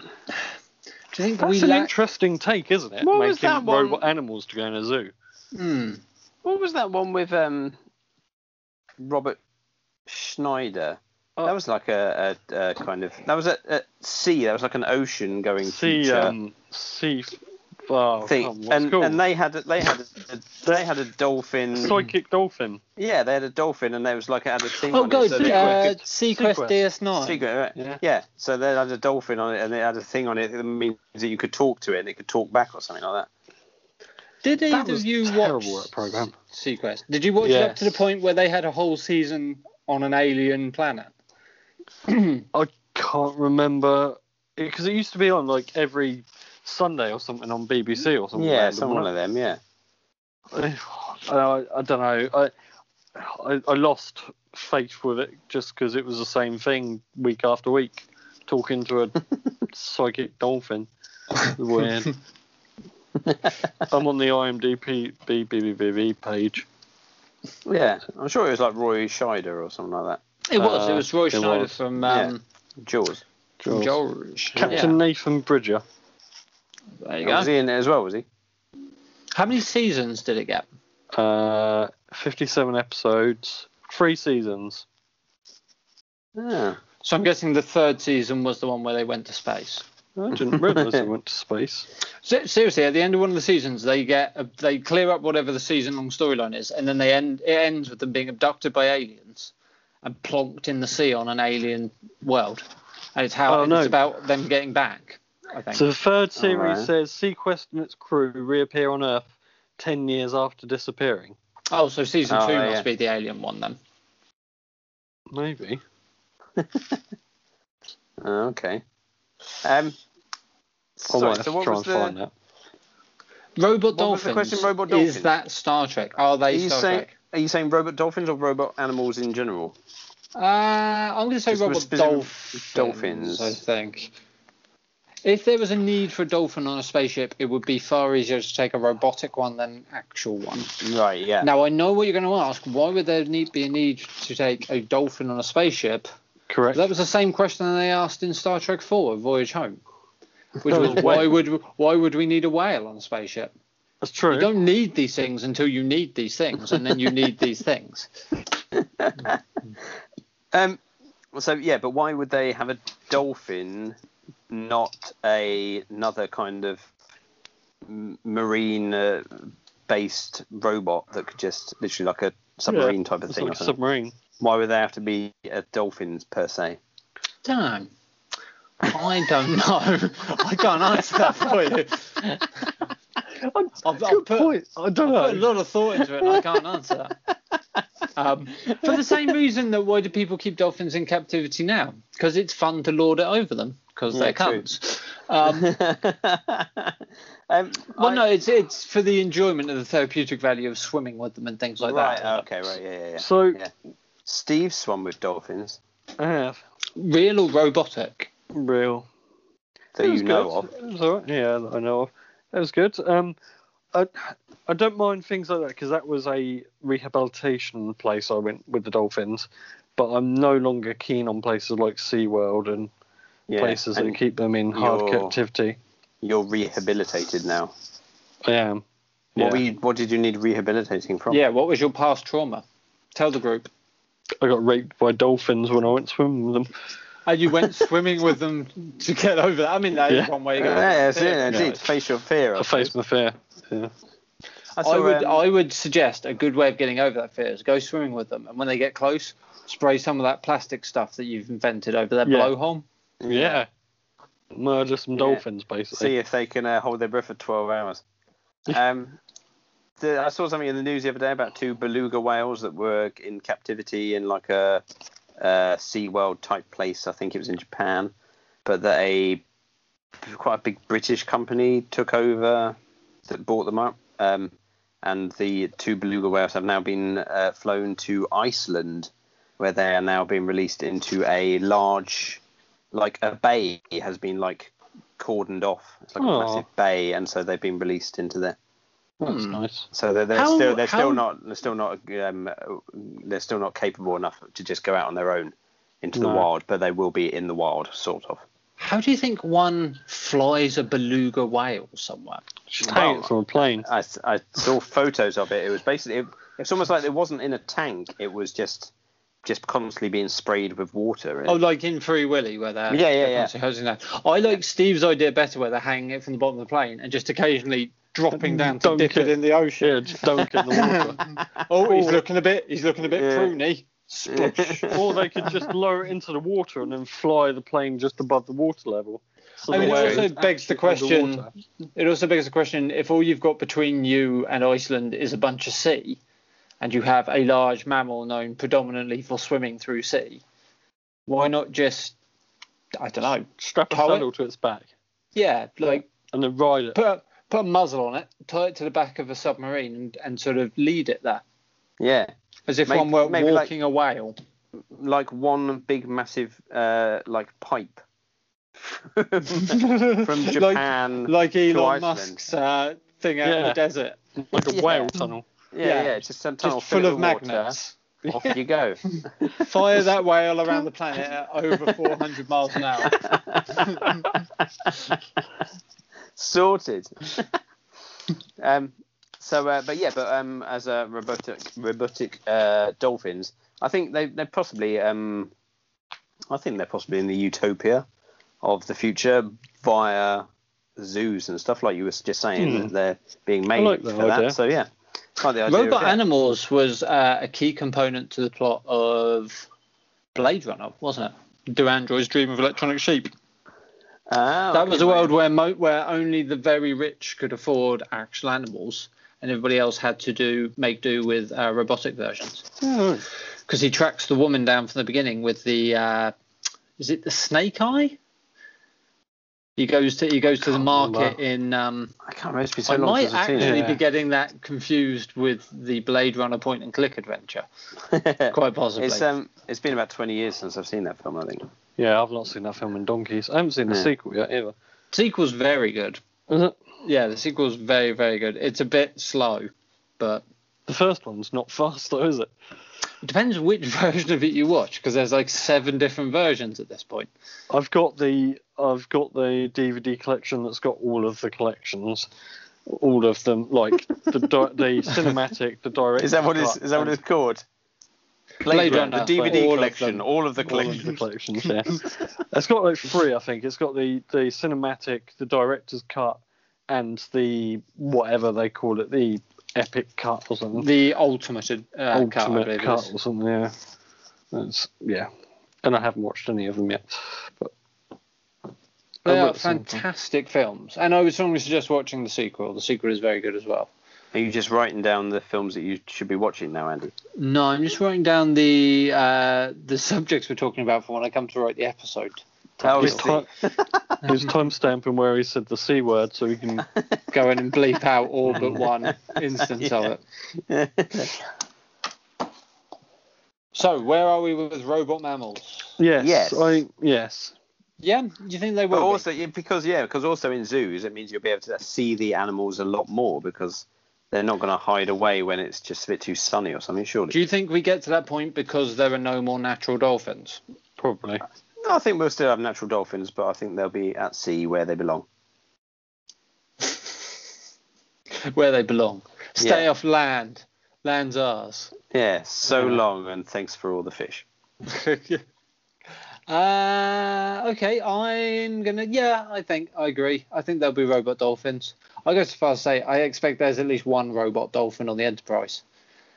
Speaker 1: you think
Speaker 2: That's
Speaker 1: we
Speaker 2: an
Speaker 1: lack?
Speaker 2: interesting take, isn't it?
Speaker 3: What
Speaker 2: Making
Speaker 3: was that one-
Speaker 2: robot animals to go in a zoo.
Speaker 1: Hmm.
Speaker 3: What was that one with um, Robert Schneider?
Speaker 2: Oh.
Speaker 3: That was like a, a, a kind of that was at, at sea. That was like an ocean going
Speaker 2: Sea,
Speaker 3: future
Speaker 2: um, sea. Oh, come on,
Speaker 3: thing.
Speaker 2: what's
Speaker 3: And
Speaker 2: called?
Speaker 3: and they had a, they had a, they had a dolphin.
Speaker 2: Psychic dolphin.
Speaker 3: yeah, they had a dolphin, and there was like it had a thing.
Speaker 1: Oh
Speaker 3: on
Speaker 1: god,
Speaker 3: it, so they
Speaker 1: uh,
Speaker 3: could-
Speaker 1: Seacrest
Speaker 2: Sequest.
Speaker 1: DS9.
Speaker 3: Secret, right?
Speaker 2: Yeah.
Speaker 3: yeah. So they had a dolphin on it, and they had a thing on it that means that you could talk to it, and it could talk back or something like that.
Speaker 1: Did
Speaker 2: That
Speaker 1: either
Speaker 2: was
Speaker 1: of you watch
Speaker 2: terrible, that program.
Speaker 1: Seacrest? Did you watch it up
Speaker 2: Yes.
Speaker 1: to the point where they had a whole season on an alien planet?
Speaker 2: I can't remember because it used to be on like every Sunday or something on BBC or something.
Speaker 3: Yeah,
Speaker 2: random,
Speaker 3: someone like
Speaker 2: wasn't
Speaker 3: them. Yeah.
Speaker 2: it? I, I don't know. I, I I lost faith with it just because it was the same thing week after week, talking to a psychic dolphin. Weird. I'm on the IMDb BBBB page.
Speaker 3: Yeah, I'm sure it was like Roy Scheider or something like
Speaker 1: It was.
Speaker 2: Uh,
Speaker 1: it was Roy
Speaker 2: it
Speaker 1: Schneider
Speaker 2: was.
Speaker 1: from
Speaker 3: Yeah.
Speaker 1: um,
Speaker 3: that. Jaws.
Speaker 1: from
Speaker 2: Jaws.
Speaker 1: George.
Speaker 2: Captain Nathan Bridger.
Speaker 1: Yeah, there you
Speaker 3: Was
Speaker 1: go.
Speaker 3: he in it as well? Was he?
Speaker 1: How many seasons did it get?
Speaker 2: Uh, 57 episodes, three seasons.
Speaker 3: Yeah.
Speaker 1: So I'm guessing the third season was the one where they went to space.
Speaker 2: I didn't realise it went to space.
Speaker 1: Se- seriously, at the end of one of the seasons, they get a, they clear up whatever the season-long storyline is, and then they end it ends with them being abducted by aliens and plonked in the sea on an alien world. And it's how
Speaker 2: Oh, no.
Speaker 1: it's about them getting back. I think.
Speaker 2: So the third series
Speaker 3: Alright.
Speaker 2: says Sequest and its crew reappear on Earth 10 years after disappearing.
Speaker 1: oh, so season
Speaker 3: Oh,
Speaker 1: two
Speaker 3: yeah.
Speaker 1: must be the alien one then.
Speaker 2: Maybe.
Speaker 3: Oh, okay.
Speaker 2: I
Speaker 3: Um. Sorry,
Speaker 2: might have
Speaker 3: so
Speaker 2: to
Speaker 3: what
Speaker 2: try
Speaker 3: was
Speaker 2: and
Speaker 3: the?
Speaker 2: find that.
Speaker 1: Robot
Speaker 3: What was
Speaker 1: dolphins.
Speaker 3: the question,
Speaker 1: Is
Speaker 3: robot dolphins?
Speaker 1: that Star Trek? Are
Speaker 3: Are
Speaker 1: they
Speaker 3: you
Speaker 1: Star
Speaker 3: saying?
Speaker 1: Trek?
Speaker 3: Are you saying robot dolphins or robot animals in general?
Speaker 1: Uh, I'm going to say
Speaker 3: Just
Speaker 1: robot
Speaker 3: specific-
Speaker 1: dolphins.
Speaker 3: dolphins.
Speaker 1: I think. If there was a need for a dolphin on a spaceship, it would be far easier to take a robotic one than an actual one.
Speaker 3: Right. Yeah.
Speaker 1: Now I know what you're going to ask. Why would there need be a need to take a dolphin on a spaceship?
Speaker 2: Correct.
Speaker 1: That was the same question they asked in Star Trek Four: Voyage Home, which
Speaker 2: That
Speaker 1: was
Speaker 2: was
Speaker 1: why
Speaker 2: whale.
Speaker 1: would why would we need a whale on a spaceship?
Speaker 2: That's true.
Speaker 1: You don't need these things until you need these things, and then you need these things.
Speaker 3: Um. So yeah, but why would they have a dolphin, not a another kind of m- marine uh, based robot that could just literally like a submarine type of
Speaker 2: It's
Speaker 3: thing.
Speaker 2: like a
Speaker 3: I think.
Speaker 2: submarine.
Speaker 3: Why would they have to be uh, dolphins per se?
Speaker 1: Damn. I don't know. I can't answer that for you. I've, I've
Speaker 2: Good
Speaker 1: put,
Speaker 2: point. I don't
Speaker 1: put a
Speaker 2: know.
Speaker 1: lot of thought into it and I can't answer that. Um, for the same reason that why do people keep dolphins in captivity now? Because it's fun to lord it over them because they're
Speaker 3: Yeah, true.
Speaker 1: cunts. Um,
Speaker 3: um,
Speaker 1: well,
Speaker 3: I-
Speaker 1: no, it's it's for the enjoyment of the therapeutic value of swimming with them and things like
Speaker 3: right, uh,
Speaker 1: that.
Speaker 3: okay, right, yeah, yeah, yeah.
Speaker 2: So
Speaker 3: Yeah. Steve swam with dolphins
Speaker 2: I have
Speaker 1: Real or robotic?
Speaker 2: real.
Speaker 3: that
Speaker 2: It
Speaker 3: you
Speaker 2: was
Speaker 3: know
Speaker 2: good.
Speaker 3: of.
Speaker 2: It was all right. Yeah, that I know of. That was good. Um, I, I don't mind things like that because that was a rehabilitation place I went with the dolphins. But I'm no longer keen on places like SeaWorld and
Speaker 3: Yeah.
Speaker 2: places that
Speaker 3: and
Speaker 2: keep them in hard
Speaker 3: your-
Speaker 2: captivity.
Speaker 3: you're rehabilitated now.
Speaker 2: I am.
Speaker 3: What
Speaker 2: Yeah.
Speaker 3: were you, What did you need rehabilitating from?
Speaker 1: Yeah, what was your past trauma? Tell the group.
Speaker 2: I got raped by dolphins when I went swimming with them.
Speaker 1: And you went swimming with them to get over that. I mean, that is
Speaker 2: Yeah.
Speaker 1: one way to
Speaker 3: Yeah,
Speaker 1: go.
Speaker 3: that's it,
Speaker 1: Yeah.
Speaker 3: indeed. Facial fear.
Speaker 2: I faced my fear. Yeah.
Speaker 3: I, saw,
Speaker 1: I would,
Speaker 3: um,
Speaker 1: I would suggest a good way of getting over that fear is go swimming with them, and when they get close, spray some of that plastic stuff that you've invented over their
Speaker 2: Yeah.
Speaker 1: blowhole.
Speaker 2: Yeah. Murder some
Speaker 3: Yeah.
Speaker 2: dolphins, basically.
Speaker 3: see if they can uh, hold their breath for 12 hours. Um, the, I saw something in the news the other day about two beluga whales that were in captivity in like a, uh Sea World type place. I think it was in Japan, but that a quite a big British company took over that bought them up. Um, and the two beluga whales have now been uh, flown to Iceland, where they are now being released into a large, like a bay has been like cordoned off. It's like
Speaker 2: Oh.
Speaker 3: a massive bay, and so they've been released into there.
Speaker 2: That's
Speaker 1: Hmm.
Speaker 2: nice.
Speaker 3: So they're, they're
Speaker 1: How-
Speaker 3: still they're
Speaker 1: how-
Speaker 3: still not they're still not um, they're still not capable enough to just go out on their own into the
Speaker 2: No.
Speaker 3: wild, but they will be in the wild, sort of.
Speaker 1: How do you think one flies a beluga whale somewhere?
Speaker 2: Just hang it from a plane.
Speaker 3: I, s- I saw photos of it. It was basically it, it's almost like it wasn't in a tank. It was just just constantly being sprayed with water. and-
Speaker 1: Oh, like in Free Willy, where they're
Speaker 3: Yeah, yeah,
Speaker 1: they're
Speaker 3: yeah.
Speaker 1: constantly holding that. I like Steve's idea better, where they're hanging it from the bottom of the plane and just occasionally dropping down to
Speaker 2: Dunk
Speaker 1: dip it
Speaker 2: it.
Speaker 1: in the ocean.
Speaker 2: Yeah, just dunk it in the water.
Speaker 1: Oh, he's looking a bit. He's looking a bit
Speaker 3: Yeah.
Speaker 1: pruny.
Speaker 2: or they could just lower it into the water and then fly the plane just above the water level. So
Speaker 1: I mean,
Speaker 2: the
Speaker 1: it
Speaker 2: whale
Speaker 1: also
Speaker 2: is
Speaker 1: begs the
Speaker 2: actually
Speaker 1: question-
Speaker 2: underwater.
Speaker 1: It also begs the question: if all you've got between you and Iceland is a bunch of sea, and you have a large mammal known predominantly for swimming through sea, why not just I don't know?
Speaker 2: Strap a
Speaker 1: Tow it?
Speaker 2: saddle to its back
Speaker 1: Yeah, like
Speaker 2: and then ride it.
Speaker 1: put a, put a muzzle on it, tie it to the back of a submarine, and, and sort of lead it there
Speaker 3: yeah,
Speaker 1: as if
Speaker 3: Maybe-
Speaker 1: one were
Speaker 3: maybe like-
Speaker 1: walking a whale.
Speaker 3: like one big massive uh, like pipe from Japan.
Speaker 1: like, like Elon
Speaker 3: Iceland.
Speaker 1: Musk's uh, thing out in the
Speaker 2: Yeah.
Speaker 1: desert,
Speaker 2: Like a
Speaker 3: Yeah.
Speaker 2: whale tunnel.
Speaker 3: yeah,
Speaker 1: yeah.
Speaker 3: yeah, it's just some tunnel
Speaker 1: just full
Speaker 3: filled
Speaker 1: of
Speaker 3: with water.
Speaker 1: magnets.
Speaker 3: Off you go.
Speaker 1: Fire that whale around the planet at over 400 miles an hour.
Speaker 3: Sorted. um, so, uh, but yeah, but um, as a robotic, robotic uh, dolphins, I think they they possibly um, I think they're possibly in the utopia of the future via zoos and stuff like you were just saying
Speaker 2: Hmm.
Speaker 3: that they're being made
Speaker 2: like that
Speaker 3: for that.
Speaker 2: idea.
Speaker 3: So yeah, I like the idea.
Speaker 1: Robot
Speaker 3: of it.
Speaker 1: animals was uh, a key component to the plot of Blade Runner, wasn't it? Do androids dream of electronic sheep?
Speaker 3: Ah,
Speaker 1: that
Speaker 3: okay,
Speaker 1: was a
Speaker 3: right.
Speaker 1: world where mo- where only the very rich could afford actual animals, and everybody else had to do make do with uh, robotic versions. Because he tracks the woman down from the beginning with the uh, is it the snake eye? He goes to he goes to the
Speaker 2: remember.
Speaker 1: market in um,
Speaker 3: I can't remember. It's been so
Speaker 1: I
Speaker 3: long
Speaker 1: might
Speaker 3: since I've seen
Speaker 1: actually
Speaker 2: Yeah.
Speaker 1: be getting that confused with the Blade Runner point and click adventure.
Speaker 3: it.
Speaker 1: Quite possibly.
Speaker 3: it's um, it's been about twenty years since I've seen that film. I think.
Speaker 2: Yeah, I've not seen that film in donkeys. I haven't seen the
Speaker 3: Yeah.
Speaker 2: sequel yet either.
Speaker 1: sequel's very good.
Speaker 2: Is it?
Speaker 1: Yeah, the sequel's very, very good. It's a bit slow, but
Speaker 2: The first one's not fast though, is it?
Speaker 1: it depends which version of it you watch, because there's like seven different versions at this point.
Speaker 2: I've got the I've got the DVD collection that's got all of the collections, all of them, like the di- the cinematic, the direct.
Speaker 3: Is that what it's? Is that what it's called?
Speaker 1: Blade Runner,
Speaker 3: the DVD
Speaker 1: all of
Speaker 3: collection,
Speaker 1: them.
Speaker 3: all of the
Speaker 2: All of the
Speaker 3: collection.
Speaker 2: collections, yeah. it's got like three, I think. It's got the the cinematic, the director's cut, and the whatever they call it, the epic cut or something.
Speaker 1: The ultimate uh,
Speaker 2: Ultimate
Speaker 1: cut, I believe it
Speaker 2: cut
Speaker 1: is.
Speaker 2: or something. Yeah, that's yeah. And I haven't watched any of them yet. But
Speaker 1: They
Speaker 2: I
Speaker 1: are
Speaker 2: will at some point.
Speaker 1: fantastic films, and I would strongly suggest watching the sequel. The sequel is very good as well.
Speaker 3: Are you just writing down the films that you should be watching now, Andy?
Speaker 1: No, I'm just writing down the uh, the subjects we're talking about for when I come to write the episode.
Speaker 3: Oh,
Speaker 2: His,
Speaker 3: is
Speaker 2: ti- his timestamping where he said the c word, so he can.
Speaker 1: Go in and bleep out all but one instance of it. So, where are we with robot mammals?
Speaker 2: Yes,
Speaker 3: Yes.
Speaker 2: I yes.
Speaker 1: Yeah, do you think they will?
Speaker 3: But
Speaker 1: be?
Speaker 3: also, yeah, because yeah, because also in zoos, it means you'll be able to see the animals a lot more because they're not going to hide away when it's just a bit too sunny or something. Surely,
Speaker 1: do you think we get to that point because there are no more natural dolphins?
Speaker 2: Probably.
Speaker 3: I think we'll still have natural dolphins, but I think they'll be at sea where they belong.
Speaker 1: Where they belong. Stay
Speaker 3: Yeah.
Speaker 1: off land. Land's ours.
Speaker 3: Yeah, so
Speaker 1: Yeah.
Speaker 3: long, and thanks for all the fish.
Speaker 1: uh, okay, I'm gonna. Yeah, I think I agree. I think there'll be robot dolphins. I go so far as to say I expect there's at least one robot dolphin on the Enterprise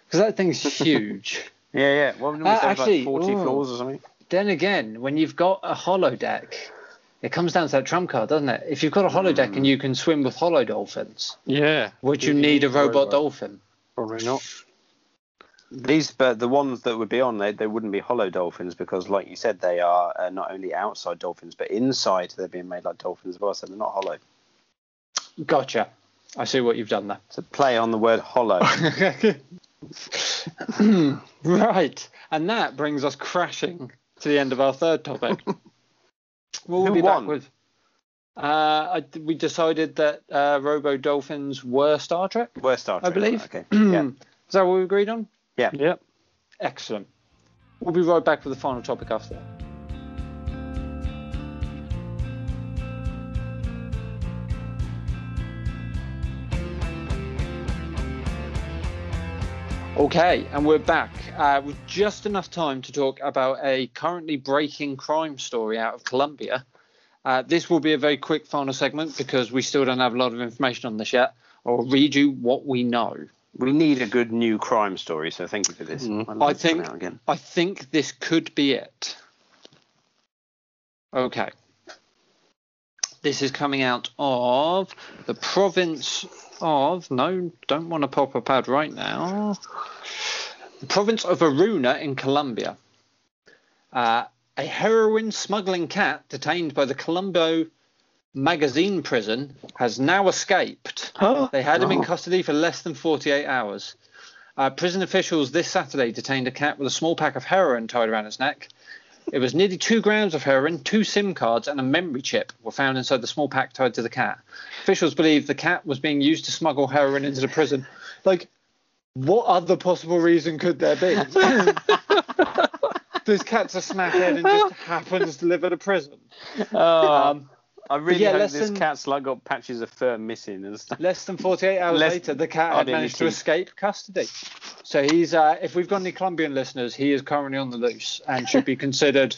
Speaker 1: because that thing's huge.
Speaker 3: Yeah, yeah. Well, we
Speaker 1: Uh,
Speaker 3: have
Speaker 1: actually,
Speaker 3: like forty
Speaker 1: ooh.
Speaker 3: floors or something.
Speaker 1: then again, when you've got a holodeck, it comes down to that trump card, doesn't it? If you've got a holodeck deck and you can swim with hollow dolphins,
Speaker 2: Yeah.
Speaker 1: would Hmm. you need a robot, dolphin?
Speaker 2: Probably not.
Speaker 3: These, but the ones that would be on, they, they wouldn't be hollow dolphins because, like you said, they are uh, not only outside dolphins but inside. They're being made like dolphins as well, so they're not hollow.
Speaker 1: Gotcha. I see what you've done there.
Speaker 3: So play on the word hollow.
Speaker 1: right. And that brings us crashing to the end of our third topic. we'll
Speaker 3: Who
Speaker 1: be
Speaker 3: won?
Speaker 1: back with. Uh, I, we decided that uh, Robo Dolphins were Star Trek.
Speaker 3: Where Star Trek?
Speaker 1: I believe.
Speaker 3: Okay. yeah.
Speaker 1: Is that what we agreed on?
Speaker 2: Yep.
Speaker 1: Excellent. We'll be right back with the final topic after. Okay, and we're back uh, with just enough time to talk about a currently breaking crime story out of Colombia. Uh, this will be a very quick final segment because we still don't have a lot of information on this yet. I'll read you what we know.
Speaker 3: We need a good new crime story, so thank you for this.
Speaker 2: Mm.
Speaker 3: love
Speaker 1: I
Speaker 3: this coming
Speaker 1: think-
Speaker 3: out again.
Speaker 1: I think this could be it. Okay. This is coming out of the province of. No, don't want to pop up ad right now. The province of Aruna in Colombia. Uh, a heroin smuggling cat detained by the Colombo magazine prison has now escaped.
Speaker 2: Huh?
Speaker 1: They had him in
Speaker 3: Oh.
Speaker 1: custody for less than 48 hours. Uh, prison officials this Saturday detained a cat with a small pack of heroin tied around its neck. It was nearly two grams of heroin, two SIM cards, and a memory chip were found inside the small pack tied to the cat. Officials believe the cat was being used to smuggle heroin into the prison. Like, what other possible reason could there be? this cat's a smackhead and just happens to live at a prison.
Speaker 3: Um,
Speaker 1: Um,
Speaker 3: I really
Speaker 1: yeah,
Speaker 3: hope
Speaker 1: less
Speaker 3: this
Speaker 1: than-
Speaker 3: cat's like got patches of fur missing and stuff.
Speaker 1: Less than 48 hours
Speaker 3: Less-
Speaker 1: later, the cat
Speaker 3: Oh,
Speaker 1: had
Speaker 3: the only
Speaker 1: managed to
Speaker 3: two.
Speaker 1: escape custody. So he's, uh, if we've got any Colombian listeners, he is currently on the loose and should be considered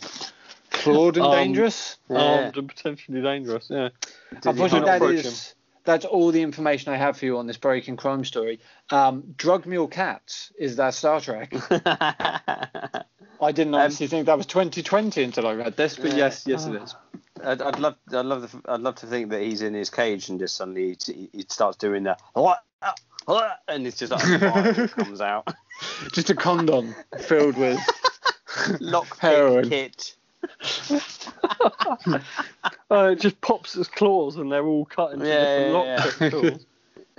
Speaker 1: clawed and
Speaker 2: Um,
Speaker 1: dangerous.
Speaker 3: Yeah.
Speaker 2: Armed and potentially dangerous. Yeah.
Speaker 1: Unfortunately,
Speaker 2: not
Speaker 1: that
Speaker 2: approach
Speaker 1: is, that's all the information I have for you on this breaking crime story. Um, drug mule cats is that Star Trek.
Speaker 3: I'd,
Speaker 1: I didn't
Speaker 2: Um,
Speaker 1: honestly think that was 2020 until I read this, but
Speaker 3: Yeah.
Speaker 1: yes, yes,
Speaker 2: Uh.
Speaker 1: it is.
Speaker 3: I'd love, I'd love, the, I'd love to think that he's in his cage and just suddenly he, he starts doing the and it's just like a fire comes out.
Speaker 1: Just a condom filled with.
Speaker 3: Lock
Speaker 1: Heroin.
Speaker 3: pick kit.
Speaker 2: Uh, it just pops its claws and they're all cut into
Speaker 3: Yeah,
Speaker 2: different
Speaker 3: yeah, yeah.
Speaker 2: lockpick tools.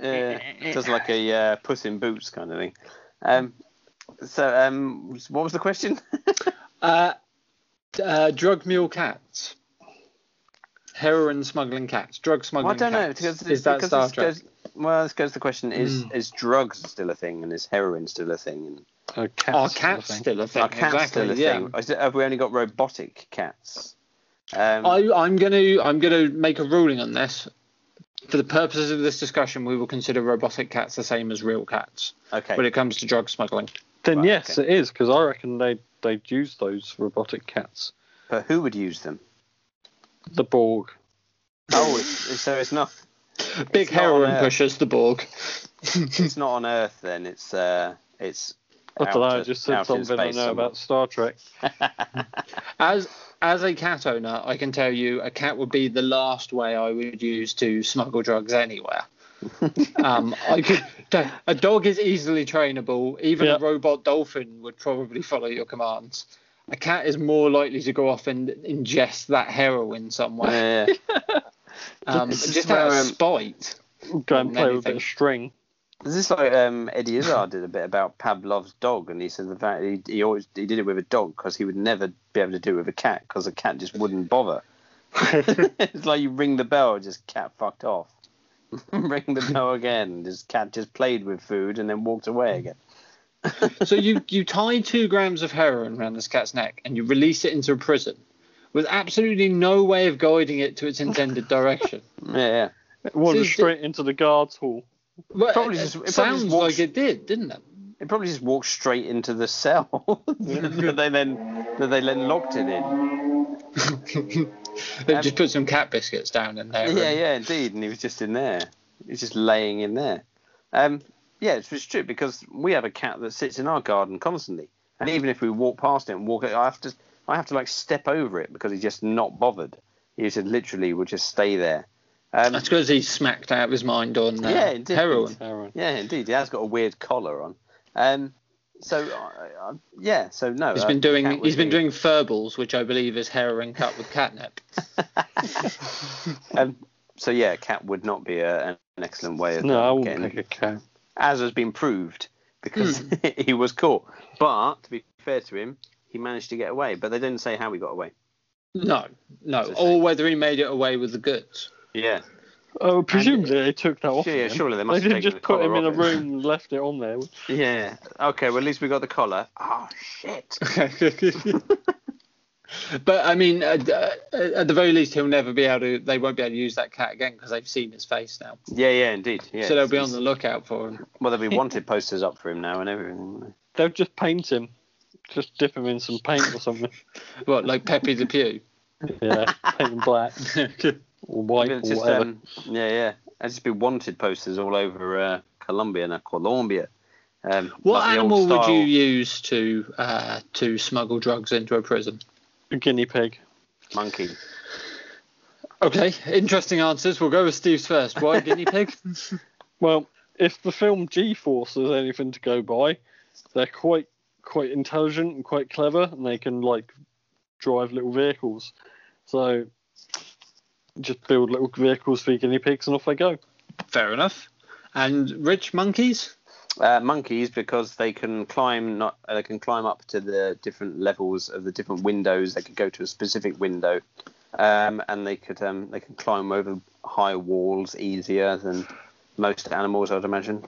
Speaker 3: Yeah, just like a uh, puss in boots kind of thing. Um, so, um, what was the question?
Speaker 1: Uh, d- uh, drug mule cats. Heroin smuggling cats. Drug
Speaker 3: Well, I
Speaker 1: smuggling
Speaker 3: don't know
Speaker 1: cats.
Speaker 3: because,
Speaker 1: is that
Speaker 3: because
Speaker 1: Star
Speaker 3: this
Speaker 1: Trek? Hmm.
Speaker 3: goes. Well, this goes to the question: Is is drugs still a thing, and is heroin still a thing, and
Speaker 2: Oh, cats.
Speaker 1: Are
Speaker 2: sort of
Speaker 1: cats
Speaker 2: thing.
Speaker 1: still a thing?
Speaker 3: are cats
Speaker 1: exactly,
Speaker 3: still a
Speaker 1: yeah.
Speaker 3: thing? Is it- have we only got robotic cats? Um,
Speaker 1: I, I'm gonna I'm gonna make a ruling on this. For the purposes of this discussion, we will consider robotic cats the same as real cats
Speaker 3: okay.
Speaker 1: when it comes to drug smuggling.
Speaker 2: Then
Speaker 3: Right,
Speaker 2: yes,
Speaker 3: okay.
Speaker 2: it is because I reckon they they'd use those robotic cats.
Speaker 3: But who would use them?
Speaker 2: The Borg.
Speaker 3: Oh, it's, so it's not.
Speaker 1: Big
Speaker 3: not on
Speaker 1: heroin
Speaker 3: Earth.
Speaker 1: pushers, the Borg.
Speaker 3: it's not on Earth then. It's uh, it's.
Speaker 2: I don't know,
Speaker 3: out
Speaker 2: I
Speaker 3: to-
Speaker 2: just
Speaker 3: out
Speaker 2: said
Speaker 3: in
Speaker 2: something I know
Speaker 3: space somewhere.
Speaker 2: about Star Trek.
Speaker 1: As as a cat owner, I can tell you a cat would be the last way I would use to smuggle drugs anywhere. um, I could, a dog is easily trainable. Even
Speaker 2: Yeah.
Speaker 1: a robot dolphin would probably follow your commands. A cat is more likely to go off and ingest that heroin somewhere,
Speaker 3: Yeah,
Speaker 1: um,
Speaker 3: This is
Speaker 1: just out of
Speaker 3: where, um,
Speaker 1: spite.
Speaker 2: Go and play with a bit
Speaker 1: anything.
Speaker 2: of string.
Speaker 3: Is this like um, Eddie Izzard did a bit about Pavlov's dog, and he said the fact he, he always he did it with a dog because he would never be able to do it with a cat because a cat just wouldn't bother. it's like you ring the bell, just cat fucked off. ring the bell again, just cat just played with food and then walked away again.
Speaker 1: so you you tie two grams of heroin around this cat's neck and you release it into a prison, with absolutely no way of guiding it to its intended direction.
Speaker 3: Yeah,
Speaker 2: Wander
Speaker 1: See,
Speaker 2: straight into the guards hall.
Speaker 1: Well,
Speaker 3: Probably
Speaker 1: it,
Speaker 3: just-
Speaker 1: it
Speaker 3: it probably
Speaker 1: sounds
Speaker 3: just
Speaker 1: like
Speaker 3: walks-
Speaker 1: it did, didn't it?
Speaker 3: yeah. It probably just walked straight into the cell that they then that they then locked it in.
Speaker 1: They
Speaker 3: Um,
Speaker 1: just put some cat biscuits down in there.
Speaker 3: Yeah,
Speaker 1: and-
Speaker 3: yeah, indeed. And he was just in there. He was just laying in there. Um, yeah, it's it's true because we have a cat that sits in our garden constantly, and even if we walk past it and walk, it, I have to, I have to like step over it because he's just not bothered. He just literally would just stay there. Um,
Speaker 1: That's because he's smacked out of his mind on uh,
Speaker 3: Yeah, it did.
Speaker 1: heroin.
Speaker 2: Aaron.
Speaker 3: yeah, indeed, he has got a weird collar on. Um, so I, I, yeah, so no,
Speaker 1: He's
Speaker 3: uh,
Speaker 1: been
Speaker 3: the cat
Speaker 1: doing
Speaker 3: was
Speaker 1: he's been doing furballs, which I believe is heroin cut with catnip.
Speaker 3: Um, so yeah, cat would not be a, an excellent way of
Speaker 2: No, I wouldn't
Speaker 3: getting
Speaker 2: pick a cat.
Speaker 3: as has been proved because
Speaker 1: Hmm.
Speaker 3: he was caught. But to be fair to him, he managed to get away. But they didn't say how he got away.
Speaker 1: No, no,
Speaker 3: It's a
Speaker 1: or
Speaker 3: shame.
Speaker 1: whether he made it away with the goods.
Speaker 3: Yeah,
Speaker 2: Oh, presumably they took that off.
Speaker 3: yeah,
Speaker 2: him.
Speaker 3: surely they
Speaker 2: They
Speaker 3: must have
Speaker 2: didn't
Speaker 3: taken
Speaker 2: just
Speaker 3: the
Speaker 2: put him
Speaker 3: collar
Speaker 2: in a
Speaker 3: off
Speaker 2: room and left it on there.
Speaker 3: Yeah. Okay. Well, at least we got the collar. Oh shit.
Speaker 1: but I mean, at, uh, at the very least, he'll never be able to. They won't be able to use that cat again because they've seen his face now.
Speaker 3: Yeah, yeah, indeed. Yeah.
Speaker 1: so they'll
Speaker 3: it's-
Speaker 1: be on the
Speaker 3: it's-
Speaker 1: lookout for him.
Speaker 3: Well, there'll be wanted posters up for him now and everything. won't
Speaker 2: They'll just paint him. Just dip him in some paint or something.
Speaker 1: What, like Pepe the Pew?
Speaker 2: yeah, paint him black or
Speaker 3: they?
Speaker 2: white
Speaker 3: Maybe
Speaker 2: or
Speaker 3: it's Just,
Speaker 2: whatever.
Speaker 3: um, yeah, yeah. There'll just be wanted posters all over uh, Colombia now. Colombia. Um,
Speaker 1: What
Speaker 3: like the old
Speaker 1: animal would you use
Speaker 3: style-
Speaker 1: to uh, to smuggle drugs into a prison?
Speaker 3: um,
Speaker 2: A guinea pig.
Speaker 3: Monkey.
Speaker 1: Okay, interesting answers. We'll go with Steve's first. Why guinea pig?
Speaker 2: Well, if the film G Force is anything to go by, they're quite quite intelligent and quite clever, and they can like drive little vehicles. So just build little vehicles for your guinea pigs, and off they go.
Speaker 1: Fair enough. And rich monkeys?
Speaker 3: Uh, monkeys because they can climb not uh, they can climb up to the different levels of the different windows. They could go to a specific window, um, and they could um, they can climb over high walls easier than most animals, I'd imagine.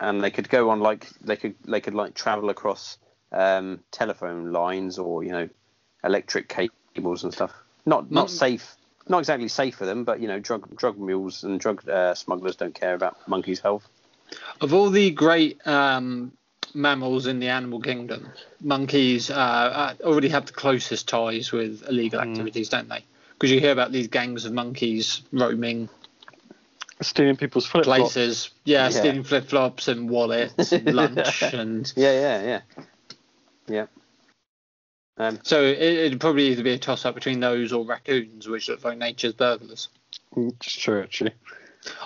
Speaker 3: And they could go on like they could they could like travel across um, telephone lines or you know electric cables and stuff. Not
Speaker 1: Mon-
Speaker 3: not safe. Not exactly safe for them, but you know, drug drug mules and drug uh, smugglers don't care about monkeys' health.
Speaker 1: Of all the great um, mammals in the animal kingdom, monkeys uh, uh, already have the closest ties with illegal
Speaker 3: Hmm.
Speaker 1: activities, don't they? Because you hear about these gangs of monkeys roaming
Speaker 2: Stealing people's flip flops.
Speaker 1: places, yeah,
Speaker 3: Yeah.
Speaker 1: stealing flip flops and wallets and lunch and.
Speaker 3: Yeah, yeah, yeah. Yeah. Um,
Speaker 1: So it, it'd probably either be a toss up between those or raccoons, which look like nature's burglars.
Speaker 2: Mm, It's true, actually.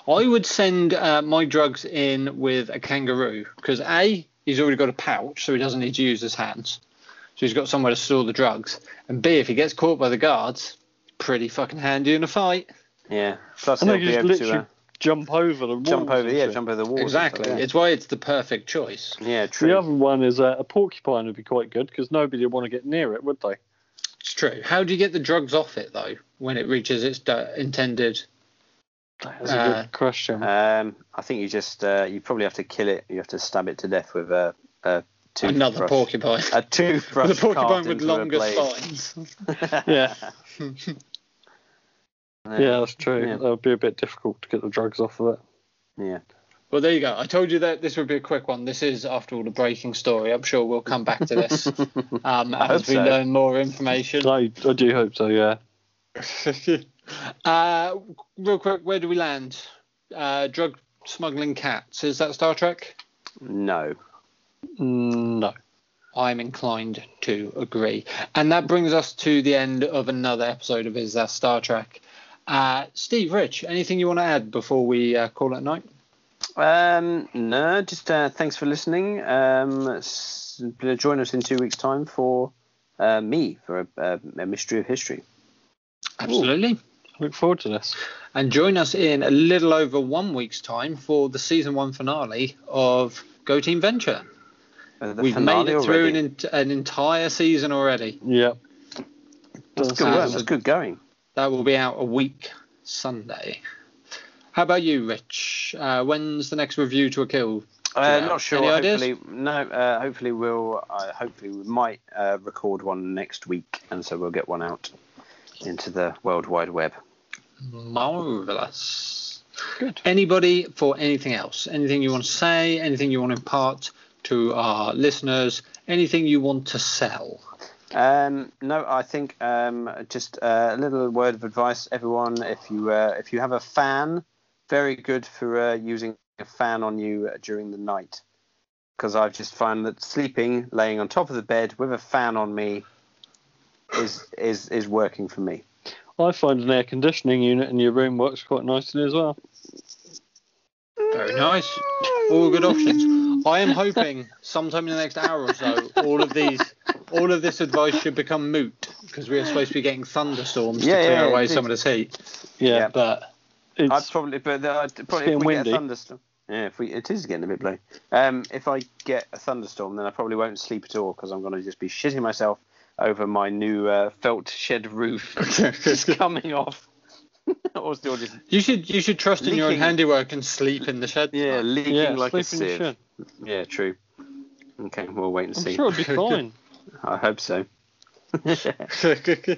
Speaker 1: I would send uh, my drugs in with a kangaroo because A, he's already got a pouch, so he doesn't need to use his hands. So he's got somewhere to store the drugs. And B, if he gets caught by the guards, pretty fucking handy in a fight.
Speaker 3: yeah. Plus,
Speaker 2: And
Speaker 3: he'll
Speaker 2: they
Speaker 3: be
Speaker 2: just
Speaker 3: able
Speaker 2: literally
Speaker 3: to uh,
Speaker 2: jump over the
Speaker 3: jump
Speaker 2: walls
Speaker 3: over,
Speaker 2: and
Speaker 3: yeah,
Speaker 2: shit.
Speaker 3: jump over the wall.
Speaker 1: Exactly.
Speaker 3: Yeah,
Speaker 1: It's why it's the perfect choice.
Speaker 3: yeah true.
Speaker 2: The other one is uh, a porcupine would be quite good because nobody would want to get near it, would they?
Speaker 1: It's true. How do you get the drugs off it, though, when it reaches its di- intended?
Speaker 2: That's a
Speaker 1: Uh,
Speaker 2: good question.
Speaker 3: Um, I think you just uh, you probably have to kill it. You have to stab it to death with a, a toothbrush.
Speaker 1: Another porcupine.
Speaker 3: A toothbrush.
Speaker 1: The porcupine
Speaker 3: carved
Speaker 1: with
Speaker 3: into a
Speaker 1: longer
Speaker 3: blade.
Speaker 1: spines.
Speaker 2: yeah,
Speaker 3: uh, Yeah.
Speaker 2: yeah, that's true.
Speaker 3: Yeah.
Speaker 2: That would be a bit difficult to get the drugs off of it.
Speaker 3: yeah.
Speaker 1: Well, there you go. I told you that this would be a quick one. This is, after all, a breaking story. I'm sure we'll come back to this um, as
Speaker 3: hope
Speaker 1: we
Speaker 3: so.
Speaker 1: learn more information.
Speaker 2: I, I do hope so, yeah.
Speaker 1: uh, real quick, where do we land? Uh, drug smuggling cats. Is that Star Trek?
Speaker 3: No.
Speaker 2: No.
Speaker 1: I'm inclined to agree. And that brings us to the end of another episode of Is That Star Trek? Uh, Steve, Rich, anything you want to add before we uh, call it a night?
Speaker 3: Um, no, just uh, thanks for listening. Um, s- join us in two weeks' time for uh, me for a, a, a mystery of history.
Speaker 1: Absolutely.
Speaker 2: Look forward to this.
Speaker 1: And join us in a little over one week's time for the season one finale of Go Team Venture.
Speaker 3: Uh, the
Speaker 1: We've made
Speaker 3: finale
Speaker 1: it through an,
Speaker 3: already.
Speaker 1: ent- an entire season already.
Speaker 2: Yeah.
Speaker 3: That's
Speaker 2: Does
Speaker 3: good work.
Speaker 2: sound-
Speaker 3: That's good going.
Speaker 1: That will be out a week Sunday. How about you, Rich? Uh, when's the next review to a kill?
Speaker 3: Uh,
Speaker 1: Yeah.
Speaker 3: Not sure.
Speaker 1: Any ideas?
Speaker 3: hopefully, no. Uh, hopefully, we'll. Uh, hopefully, we might uh, record one next week, and so we'll get one out into the world wide web.
Speaker 1: Marvelous.
Speaker 2: Good.
Speaker 1: Anybody for anything else? Anything you want to say? Anything you want to impart to our listeners? Anything you want to sell?
Speaker 3: Um, no, I think um, just uh, a little word of advice, everyone. If you uh, if you have a fan, very good for uh, using a fan on you during the night, because I've just found that sleeping, laying on top of the bed with a fan on me, is is is working for me.
Speaker 2: I find an air conditioning unit in your room works quite nicely as well.
Speaker 1: Very nice. All good options. I am hoping sometime in the next hour or so, all of these, all of this advice should become moot because we are supposed to be getting thunderstorms
Speaker 3: Yeah,
Speaker 1: to clear
Speaker 3: yeah,
Speaker 1: away
Speaker 3: it
Speaker 1: some of
Speaker 3: is.
Speaker 1: this heat.
Speaker 2: Yeah.
Speaker 3: Yeah.
Speaker 1: But
Speaker 3: I'd
Speaker 2: It's,
Speaker 3: probably, but the- I'd probably
Speaker 2: been
Speaker 3: if we
Speaker 2: windy.
Speaker 3: get a thunderstorm. Yeah, if we, it is getting a bit blowy. Um, if I get a thunderstorm, then I probably won't sleep at all because I'm going to just be shitting myself over my new uh, felt shed roof just coming off, or still just
Speaker 1: you should you should trust in your own
Speaker 3: Leaking.
Speaker 1: handiwork and sleep in the shed.
Speaker 3: yeah leaking
Speaker 2: yeah,
Speaker 3: like
Speaker 2: sleep
Speaker 3: a
Speaker 2: in the
Speaker 3: sieve.
Speaker 2: shed.
Speaker 3: Yeah, true. Okay, we'll wait and
Speaker 2: I'm
Speaker 3: see.
Speaker 2: sure it'd be fine.
Speaker 3: I hope so.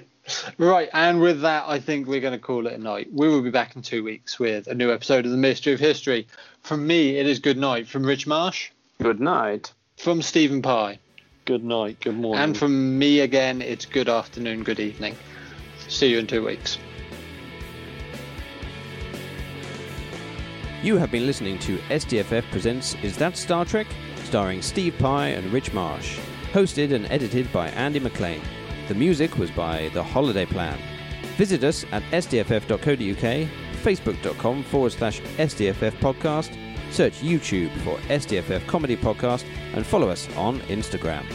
Speaker 1: right, and with that, I think we're going to call it a night. We will be back in two weeks with a new episode of the Mystery of History. From me, it is good night. From Rich Marsh,
Speaker 3: Good night.
Speaker 1: from Stephen Pye,
Speaker 2: Good night. Good morning.
Speaker 1: and from me again, it's good afternoon, good evening. See you in two weeks.
Speaker 4: You have been listening to SDFF Presents Is That Star Trek? starring Steve Pye and Rich Marsh. Hosted and edited by Andy McLean. The music was by The Holiday Plan. Visit us at sdff.co.uk, facebook.com forward slash SDFF podcast, search YouTube for SDFF Comedy Podcast, and follow us on Instagram.